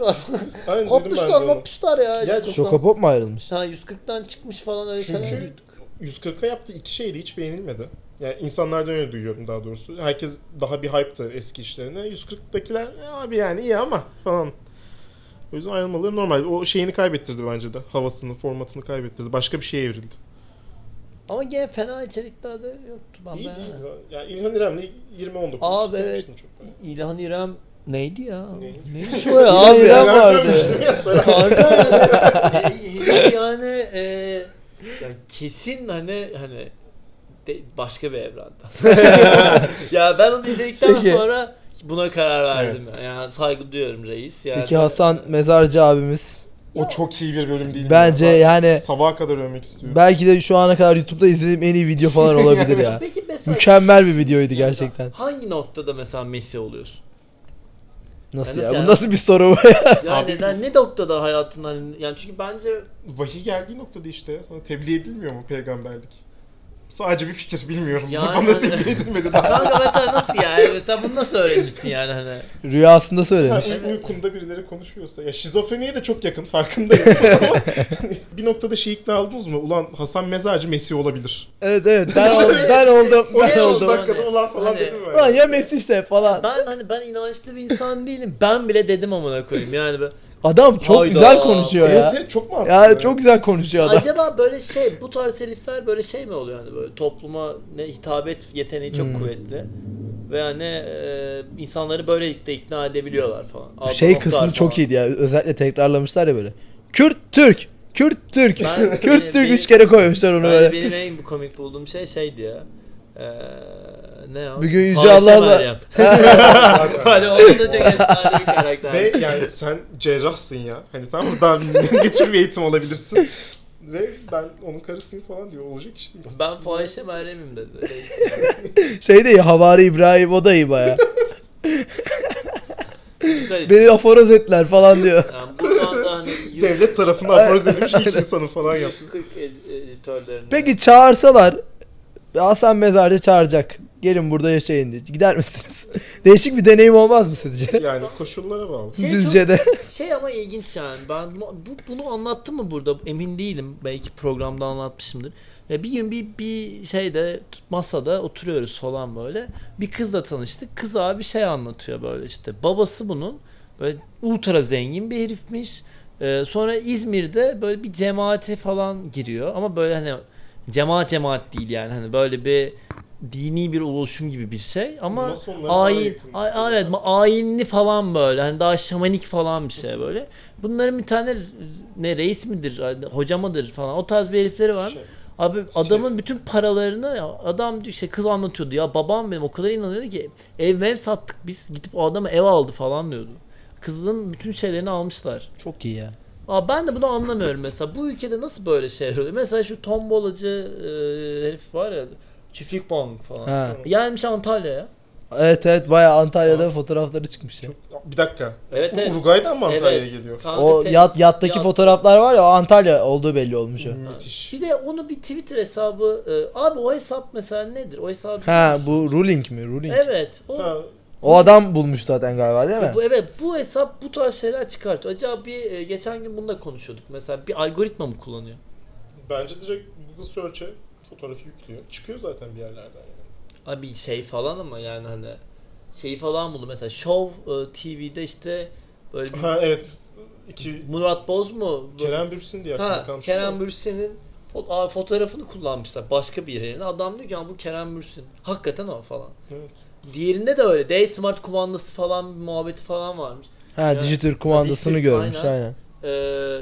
[SPEAKER 3] var.
[SPEAKER 2] Aynen dedim ben de
[SPEAKER 3] kopmuşlar
[SPEAKER 2] onu.
[SPEAKER 3] kopmuşlar ya.
[SPEAKER 2] Ya
[SPEAKER 3] Çok-
[SPEAKER 1] Şokapop mu ayrılmış?
[SPEAKER 3] Ha, 140'tan çıkmış falan öyle şeyler
[SPEAKER 2] Çünkü
[SPEAKER 3] duyduk.
[SPEAKER 2] 140'a yaptığı iki şey de hiç beğenilmedi. Yani insanlardan öyle duyuyorum daha doğrusu. Herkes daha bir hype'tı eski işlerine. 140'dakiler "E abi yani iyi ama falan. O yüzden ayrılmaları normal. O şeyini kaybettirdi bence de. Havasını, formatını kaybettirdi. Başka bir şeye evrildi.
[SPEAKER 3] Ama gene fena içerikler de yoktu. Ben
[SPEAKER 2] iyi değil.
[SPEAKER 3] beğenmedim.
[SPEAKER 2] Ya Yani İlhan İrem'le 20-19.
[SPEAKER 3] Abi
[SPEAKER 2] Sevmiştim
[SPEAKER 3] evet.
[SPEAKER 2] çok da.
[SPEAKER 3] İlhan İrem neydi ya?
[SPEAKER 2] Neydi?
[SPEAKER 3] Neymiş o ya?
[SPEAKER 1] İlhan
[SPEAKER 3] Abi
[SPEAKER 1] İrem
[SPEAKER 3] ya.
[SPEAKER 1] var. vardı.
[SPEAKER 2] görmüştüm ya sana.
[SPEAKER 3] Kanka yani, e, yani e, ya kesin hani hani de- başka bir evrenden. ya ben onu izledikten
[SPEAKER 1] Peki.
[SPEAKER 3] sonra buna karar verdim. ya. Yani saygı duyuyorum reis. Yani.
[SPEAKER 1] Peki Hasan Mezarcı abimiz.
[SPEAKER 2] O çok iyi bir bölüm değil mi?
[SPEAKER 1] Bence
[SPEAKER 2] Ben
[SPEAKER 1] yani
[SPEAKER 2] Sabaha kadar ölmek istiyorum.
[SPEAKER 1] belki de şu ana kadar YouTube'da izlediğim en iyi video falan olabilir ya.
[SPEAKER 3] Peki mesela
[SPEAKER 1] Mükemmel bir videoydu gerçekten.
[SPEAKER 3] hangi noktada mesela Messi oluyorsun?
[SPEAKER 1] Nasıl
[SPEAKER 3] Nasıl
[SPEAKER 1] ya? Bu
[SPEAKER 3] yani?
[SPEAKER 1] nasıl bir soru bu ya?
[SPEAKER 3] Yani
[SPEAKER 2] Abi-
[SPEAKER 3] neden ne noktada hayatın hani yani çünkü bence
[SPEAKER 2] Vahiy geldiği noktada işte ya. Sana tebliğ edilmiyor mu peygamberlik? Sadece bir fikir bilmiyorum.
[SPEAKER 3] Yani-
[SPEAKER 2] Bana tebliğ edilmedi daha.
[SPEAKER 3] kanka mesela nasıl yani mesela bunu nasıl öğrenmişsin yani hani
[SPEAKER 1] Rüyasında söylemiş.
[SPEAKER 2] Yani uykumda birileri konuşuyorsa. Ya şizofreniye de çok yakın farkındayım. Ama bir noktada şey ikna oldunuz mu? Ulan Hasan Mezarcı Messi olabilir.
[SPEAKER 1] Evet evet ben oldum ben oldum ben
[SPEAKER 2] Otuz
[SPEAKER 3] Ne
[SPEAKER 1] oldum.
[SPEAKER 3] Şey oldu?
[SPEAKER 2] dakikada
[SPEAKER 3] Hani-
[SPEAKER 2] ulan falan
[SPEAKER 3] hani-
[SPEAKER 2] dedim ben.
[SPEAKER 1] Ulan ya Messi ise falan.
[SPEAKER 3] ben hani ben inançlı bir insan değilim ben bile dedim amına koyayım yani ben-
[SPEAKER 1] Adam çok
[SPEAKER 3] Hayda.
[SPEAKER 1] güzel konuşuyor
[SPEAKER 2] Evet
[SPEAKER 1] ya.
[SPEAKER 2] evet çok mantıklı.
[SPEAKER 1] Ya çok güzel konuşuyor adam.
[SPEAKER 3] acaba böyle şey bu tarz herifler böyle şey mi oluyor yani böyle topluma ne hitabet yeteneği çok
[SPEAKER 1] Hmm.
[SPEAKER 3] kuvvetli ve hani e, insanları böylelikle ikna edebiliyorlar falan
[SPEAKER 1] Bu şey kısmı çok iyiydi ya. Özellikle tekrarlamışlar ya böyle. Kürt Türk. Kürt Türk.
[SPEAKER 3] Ben-
[SPEAKER 1] Kürt Türk
[SPEAKER 3] benim-
[SPEAKER 1] üç kere koymuşlar onu böyle.
[SPEAKER 3] Böyle benim en bu komik bulduğum şey şeydi ya. Ee, ne o?
[SPEAKER 1] Bir gün Yüce
[SPEAKER 3] Paşa
[SPEAKER 1] Allah'la-
[SPEAKER 3] Meryem. hani o da çok efsane bir karakter.
[SPEAKER 2] Ve yani sen cerrahsın ya. Hani tamam mı? Daha ne tür bir eğitim alabilirsin? Ve ben onun karısıyım falan diyor. Olacak iş değil.
[SPEAKER 3] Ben Fahişe Meryem'im dedi.
[SPEAKER 1] Şey de ya Havari İbrahim o da iyi baya.
[SPEAKER 3] Garip.
[SPEAKER 1] Beni aforoz ettiler falan diyor.
[SPEAKER 3] Yani buradan da hani yüz-
[SPEAKER 2] Devlet tarafından aforoz edilmiş ilk insanı falan yaptı.
[SPEAKER 3] 140 ed- editörlerine.
[SPEAKER 1] Peki çağırsalar Hasan Mezarcı çağıracak. Gelin burada yaşayın diye. Gider misiniz? Değişik bir deneyim olmaz mı sizce?
[SPEAKER 2] Yani koşullara bağlı.
[SPEAKER 3] Şey çok-
[SPEAKER 1] Düzce'de.
[SPEAKER 3] Şey ama ilginç yani ben bunu, bu, bunu anlattım mı burada emin değilim belki programda anlatmışımdır. Ya bir gün bir, bir şeyde masada oturuyoruz falan böyle bir kızla tanıştık kız abi şey anlatıyor böyle işte babası bunun böyle ultra zengin bir herifmiş. Ee, sonra İzmir'de böyle bir cemaate falan giriyor ama böyle hani cemaat cemaat değil yani hani böyle bir dini bir oluşum gibi bir şey ama
[SPEAKER 2] Masonlara daha
[SPEAKER 3] ayin,
[SPEAKER 2] yakın.
[SPEAKER 3] ay, ay- evet ma- ayinli falan böyle hani daha şamanik falan bir şey böyle. Bunların bir tane ne reis midir hani hoca mıdır falan o tarz bir herifleri var.
[SPEAKER 2] Şey.
[SPEAKER 3] Abi adamın bütün paralarını ya adam diyor işte kız anlatıyordu ya babam benim o kadar inanıyordu ki ev mev sattık biz gidip o adama ev aldı falan diyordu. Kızın bütün şeylerini almışlar.
[SPEAKER 5] Çok iyi ya.
[SPEAKER 3] Aa ben de bunu anlamıyorum mesela. Bu ülkede nasıl böyle şeyler oluyor? Mesela şu tombolacı e, herif var ya çiftlik bank falan.
[SPEAKER 1] Ha.
[SPEAKER 3] Gelmiş Antalya'ya.
[SPEAKER 1] Evet evet baya Antalya'da fotoğrafları çıkmış ya.
[SPEAKER 2] Şey, Bir dakika.
[SPEAKER 3] Evet, evet.
[SPEAKER 2] Uruguay'dan mı Antalya'ya
[SPEAKER 3] Evet.
[SPEAKER 2] geliyor?
[SPEAKER 3] Kanka
[SPEAKER 1] O
[SPEAKER 3] te-
[SPEAKER 1] yat yattaki
[SPEAKER 3] yat-
[SPEAKER 1] fotoğraflar var ya o Antalya olduğu belli olmuş o.
[SPEAKER 2] Müthiş.
[SPEAKER 3] Bir de onu bir Twitter hesabı e, abi o hesap mesela nedir? O hesabı
[SPEAKER 1] Ha bu ruling mi? Ruling.
[SPEAKER 3] Evet. O
[SPEAKER 2] Ha,
[SPEAKER 1] O adam bulmuş zaten galiba değil mi?
[SPEAKER 3] Bu, evet bu hesap bu tarz şeyler çıkartıyor. Acaba bir e, geçen gün bunu da konuşuyorduk. Mesela bir algoritma mı kullanıyor?
[SPEAKER 2] bence direkt Google Search'e fotoğrafı yüklüyor. Çıkıyor zaten bir yerlerden. Yani.
[SPEAKER 3] Abi şey falan ama yani hani şey falan buldu mesela Show e, TV'de işte böyle bir
[SPEAKER 2] Ha evet. İki
[SPEAKER 3] Murat Boz mu?
[SPEAKER 2] Kerem Bürsin diye şey aklıma
[SPEAKER 3] ha,
[SPEAKER 2] kalmış.
[SPEAKER 3] Kerem Bürsin'in fo- aa, fotoğrafını kullanmışlar başka bir yerine. Adam diyor ki "Ya bu Kerem Bürsin. Hakikaten o falan.
[SPEAKER 2] Evet.
[SPEAKER 3] Diğerinde de öyle. D Smart kumandası falan bir muhabbeti falan varmış.
[SPEAKER 1] Ha
[SPEAKER 3] Evet.
[SPEAKER 1] Digitürk kumandasını
[SPEAKER 3] Digitürk,
[SPEAKER 1] görmüş
[SPEAKER 3] aynen.
[SPEAKER 1] aynen.
[SPEAKER 3] Ee,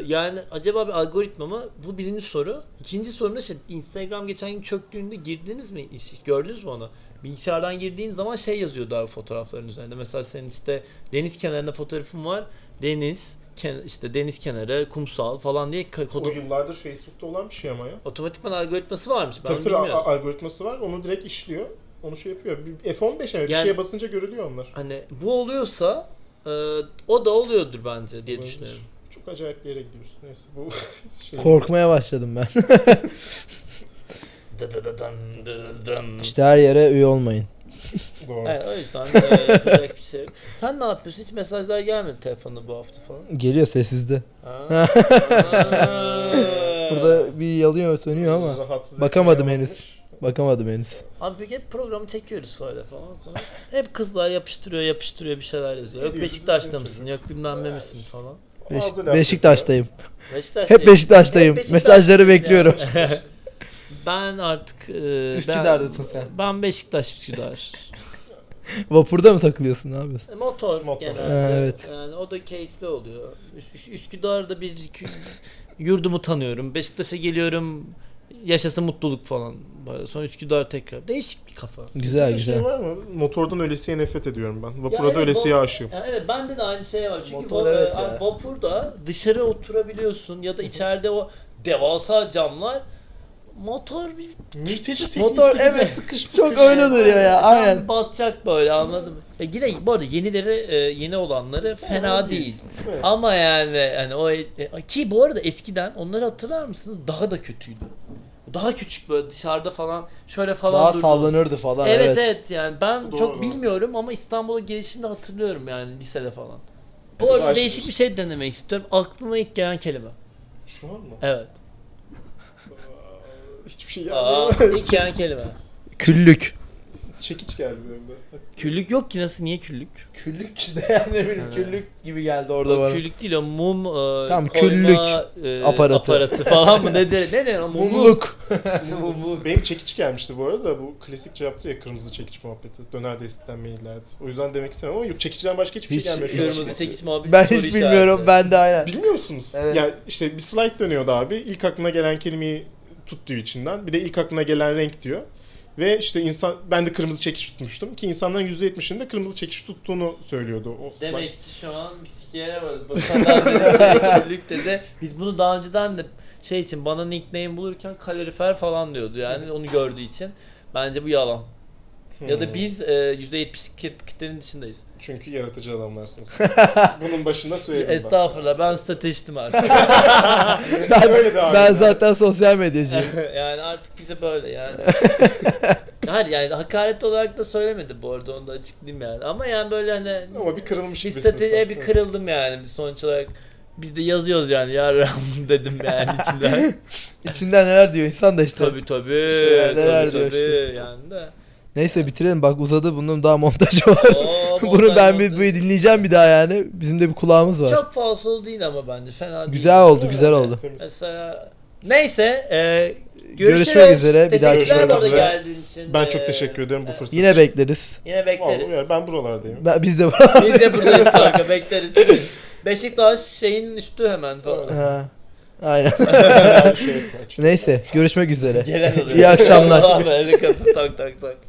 [SPEAKER 3] yani acaba bir algoritma mı? Bu birinci soru. İkinci soru da şey Instagram geçen gün çöktüğünde girdiniz mi? Hiç- hiç Gördünüz mü onu? Bilgisayardan girdiğin zaman şey yazıyordu abi fotoğrafların üzerinde. Mesela senin işte deniz kenarında fotoğrafın var. Deniz, ken- işte deniz kenarı, kumsal falan diye ka-
[SPEAKER 2] O
[SPEAKER 3] kodu
[SPEAKER 2] yıllardır Facebook'ta olan bir şey ama ya.
[SPEAKER 3] otomatikman algoritması varmış. Ben
[SPEAKER 2] Tabii tabii
[SPEAKER 3] bilmiyorum.
[SPEAKER 2] a- algoritması var. Onu direkt işliyor. Onu şey yapıyor. Bir F15 yani bir
[SPEAKER 3] Yani-
[SPEAKER 2] şeye basınca görülüyor onlar.
[SPEAKER 3] Hani bu oluyorsa e, o da oluyordur bence diye
[SPEAKER 2] Olabilir.
[SPEAKER 3] düşünüyorum.
[SPEAKER 2] Çok acayip bir yere gidiyoruz. Neyse bu şey.
[SPEAKER 1] Korkmaya başladım ben.
[SPEAKER 3] Dı dı dı dın, dı dı dın.
[SPEAKER 1] işte her yere üye olmayın.
[SPEAKER 2] Doğru.
[SPEAKER 3] Evet, o yüzden e, yapacak bir şey yok. Sen ne yapıyorsun? Hiç mesajlar gelmedi telefonuna bu hafta falan.
[SPEAKER 1] Geliyor sessizde.
[SPEAKER 3] Ha.
[SPEAKER 1] Burada bir yalıyor sönüyor ama
[SPEAKER 2] Rahatsız
[SPEAKER 1] bakamadım
[SPEAKER 2] etmeye
[SPEAKER 1] henüz.
[SPEAKER 2] almış.
[SPEAKER 1] bakamadım henüz.
[SPEAKER 3] Abi peki hep programı çekiyoruz böyle falan. Sonra hep kızlar yapıştırıyor yapıştırıyor bir şeyler yazıyor. Yok
[SPEAKER 2] Ne diyorsun?
[SPEAKER 3] Beşiktaş'ta
[SPEAKER 2] Ne
[SPEAKER 3] mısın? Yok bilmem ne misin falan.
[SPEAKER 1] Beş-
[SPEAKER 2] Ağzı laf
[SPEAKER 1] Beşiktaş'tayım.
[SPEAKER 3] Beşiktaş'tayım.
[SPEAKER 1] Hep Beşiktaş'tayım.
[SPEAKER 3] Hep Beşiktaş'tayız
[SPEAKER 1] Mesajları
[SPEAKER 3] yani.
[SPEAKER 1] bekliyorum.
[SPEAKER 3] ben artık... E, ben-
[SPEAKER 1] Üsküdar'dasın sen.
[SPEAKER 3] Ben Beşiktaş Üsküdar.
[SPEAKER 1] Vapurda mı takılıyorsun ne yapıyorsun?
[SPEAKER 3] E, Motor,
[SPEAKER 2] Motor.
[SPEAKER 3] genelde.
[SPEAKER 1] Ha, evet.
[SPEAKER 3] Yani o da keyifli oluyor. Üs- Üs- Üsküdar'da bir iki- yurdumu tanıyorum. Beşiktaş'a geliyorum. Yaşasın mutluluk falan. Böyle. Sonra Üsküdar tekrar. Değişik bir kafa.
[SPEAKER 1] Güzel
[SPEAKER 2] Bir
[SPEAKER 1] güzel.
[SPEAKER 2] Şey var mı? Motordan ölesiye nefret ediyorum ben. Vapura
[SPEAKER 3] Ya
[SPEAKER 2] da
[SPEAKER 3] evet,
[SPEAKER 2] ölesiye
[SPEAKER 3] va-
[SPEAKER 2] aşığım.
[SPEAKER 3] Ya evet bende de aynı şey var. Çünkü
[SPEAKER 1] Motor
[SPEAKER 3] va-
[SPEAKER 1] evet
[SPEAKER 3] e,
[SPEAKER 1] ya.
[SPEAKER 3] vapurda dışarı oturabiliyorsun ya da içeride o devasa camlar Motor bir
[SPEAKER 2] Mülteci
[SPEAKER 1] Motor evet. Çok öyle duruyor ya aynen.
[SPEAKER 3] Tam batacak böyle anladım. Ya yine bu arada yenileri e, yeni olanları fena, değil.
[SPEAKER 2] Evet.
[SPEAKER 3] Ama yani yani o e, ki bu arada eskiden onları hatırlar mısınız? Daha da kötüydü. Daha küçük böyle dışarıda falan şöyle falan
[SPEAKER 1] Daha
[SPEAKER 3] durdu.
[SPEAKER 1] sallanırdı falan
[SPEAKER 3] Evet, evet
[SPEAKER 1] evet.
[SPEAKER 3] yani ben
[SPEAKER 2] Doğru,
[SPEAKER 3] çok
[SPEAKER 2] doğru.
[SPEAKER 3] bilmiyorum ama İstanbul'a gelişimde hatırlıyorum yani lisede falan. Bu arada
[SPEAKER 2] Güzel.
[SPEAKER 3] değişik bir şey denemek istiyorum. Aklına ilk gelen kelime.
[SPEAKER 2] Şu an mı?
[SPEAKER 3] Evet.
[SPEAKER 2] Hiçbir şey
[SPEAKER 3] Aa,
[SPEAKER 2] gelmiyor.
[SPEAKER 3] ilk gelen kelime.
[SPEAKER 1] Küllük.
[SPEAKER 2] Çekiç geldi benim de.
[SPEAKER 3] Küllük yok ki nasıl niye küllük?
[SPEAKER 1] Küllük de yani ne bileyim küllük gibi geldi orada
[SPEAKER 3] O
[SPEAKER 1] bana.
[SPEAKER 3] küllük değil o mum e,
[SPEAKER 1] Tamam,
[SPEAKER 3] koyma
[SPEAKER 1] küllük
[SPEAKER 3] e,
[SPEAKER 1] aparatı.
[SPEAKER 3] falan mı ne de, ne ne o mumluk.
[SPEAKER 1] Mumluk.
[SPEAKER 2] Benim çekiç gelmişti bu arada. Bu klasik cevaptır ya kırmızı çekiç muhabbeti. Dönerdi eskiden maillerdi. O yüzden demek istemem ama yok çekiciden başka hiçbir
[SPEAKER 1] Hiç-
[SPEAKER 2] şey gelmiyor. şu an.
[SPEAKER 3] Kırmızı çekiç muhabbeti
[SPEAKER 1] Ben
[SPEAKER 3] soru
[SPEAKER 1] hiç bilmiyorum
[SPEAKER 3] işareti.
[SPEAKER 1] ben de aynen.
[SPEAKER 2] Bilmiyor musunuz?
[SPEAKER 1] Evet.
[SPEAKER 2] Ya işte bir slide dönüyordu abi. İlk aklına gelen kelimeyi tut diyor içinden. Bir de ilk aklına gelen renk diyor. Ve işte insan ben de kırmızı çekiş tutmuştum ki insanların %70'inin de kırmızı çekiş tuttuğunu söylüyordu o slide.
[SPEAKER 3] Demek ki şu an bir sikiye yaramadı. Bakanlar birlikte de biz bunu daha önceden de şey için bana nickname bulurken kalorifer falan diyordu yani onu gördüğü için. Bence bu yalan. Ya da
[SPEAKER 2] Hmm.
[SPEAKER 3] biz e, %70'lik kit- kitlenin dışındayız.
[SPEAKER 2] Çünkü yaratıcı adamlarsınız. Bunun başında söyledim ben.
[SPEAKER 3] Estağfurullah ben stratejistim artık.
[SPEAKER 1] Ben,
[SPEAKER 2] Öyle devam
[SPEAKER 1] ben
[SPEAKER 2] ediyor.
[SPEAKER 1] zaten sosyal medyacıyım.
[SPEAKER 3] yani artık bize böyle yani. Hayır yani hakaret olarak da söylemedi bu arada onu da açıklayayım yani. Ama yani böyle hani
[SPEAKER 2] Ama bir şey kırılmış
[SPEAKER 3] bir
[SPEAKER 2] gibisiniz.
[SPEAKER 3] stratejiye bir
[SPEAKER 2] sanki.
[SPEAKER 3] kırıldım yani sonuç olarak. Biz de yazıyoruz yani yarram dedim yani içimden.
[SPEAKER 1] İçinden neler diyor insan da işte.
[SPEAKER 3] tabii
[SPEAKER 1] Şeyler
[SPEAKER 3] tabii. tabii
[SPEAKER 1] diyor
[SPEAKER 3] tabii
[SPEAKER 1] işte.
[SPEAKER 3] yani de.
[SPEAKER 1] Neyse bitirelim bak uzadı bunun daha montajı var.
[SPEAKER 3] Oo,
[SPEAKER 1] Bunu ben bir,
[SPEAKER 3] montajı.
[SPEAKER 1] bir dinleyeceğim bir daha yani. Bizim de bir kulağımız var.
[SPEAKER 3] Çok falsolu değil ama bence fena değil.
[SPEAKER 1] Güzel oldu, güzel oldu.
[SPEAKER 2] Temiz.
[SPEAKER 3] Mesela neyse e, görüşürüz.
[SPEAKER 1] Görüşmek üzere, bir dahaki
[SPEAKER 3] Teşekkürler bu arada
[SPEAKER 2] bölümde.
[SPEAKER 3] geldiğin için.
[SPEAKER 2] Ben
[SPEAKER 3] E,
[SPEAKER 2] çok teşekkür ederim bu fırsat
[SPEAKER 1] Yine
[SPEAKER 2] için.
[SPEAKER 1] bekleriz.
[SPEAKER 3] Yine
[SPEAKER 2] Vallahi
[SPEAKER 3] bekleriz.
[SPEAKER 2] ya ben buralardayım.
[SPEAKER 1] Ben, biz de
[SPEAKER 3] Biz de buradayız kanka bekleriz. Beşiktaş şeyin üstü hemen falan.
[SPEAKER 1] Ha, Aynen.
[SPEAKER 2] Her şey etmez.
[SPEAKER 1] Neyse görüşmek üzere.
[SPEAKER 3] Gelen oluyor.
[SPEAKER 1] İyi akşamlar.
[SPEAKER 3] Allah'ım öyle kapı tak tak tak.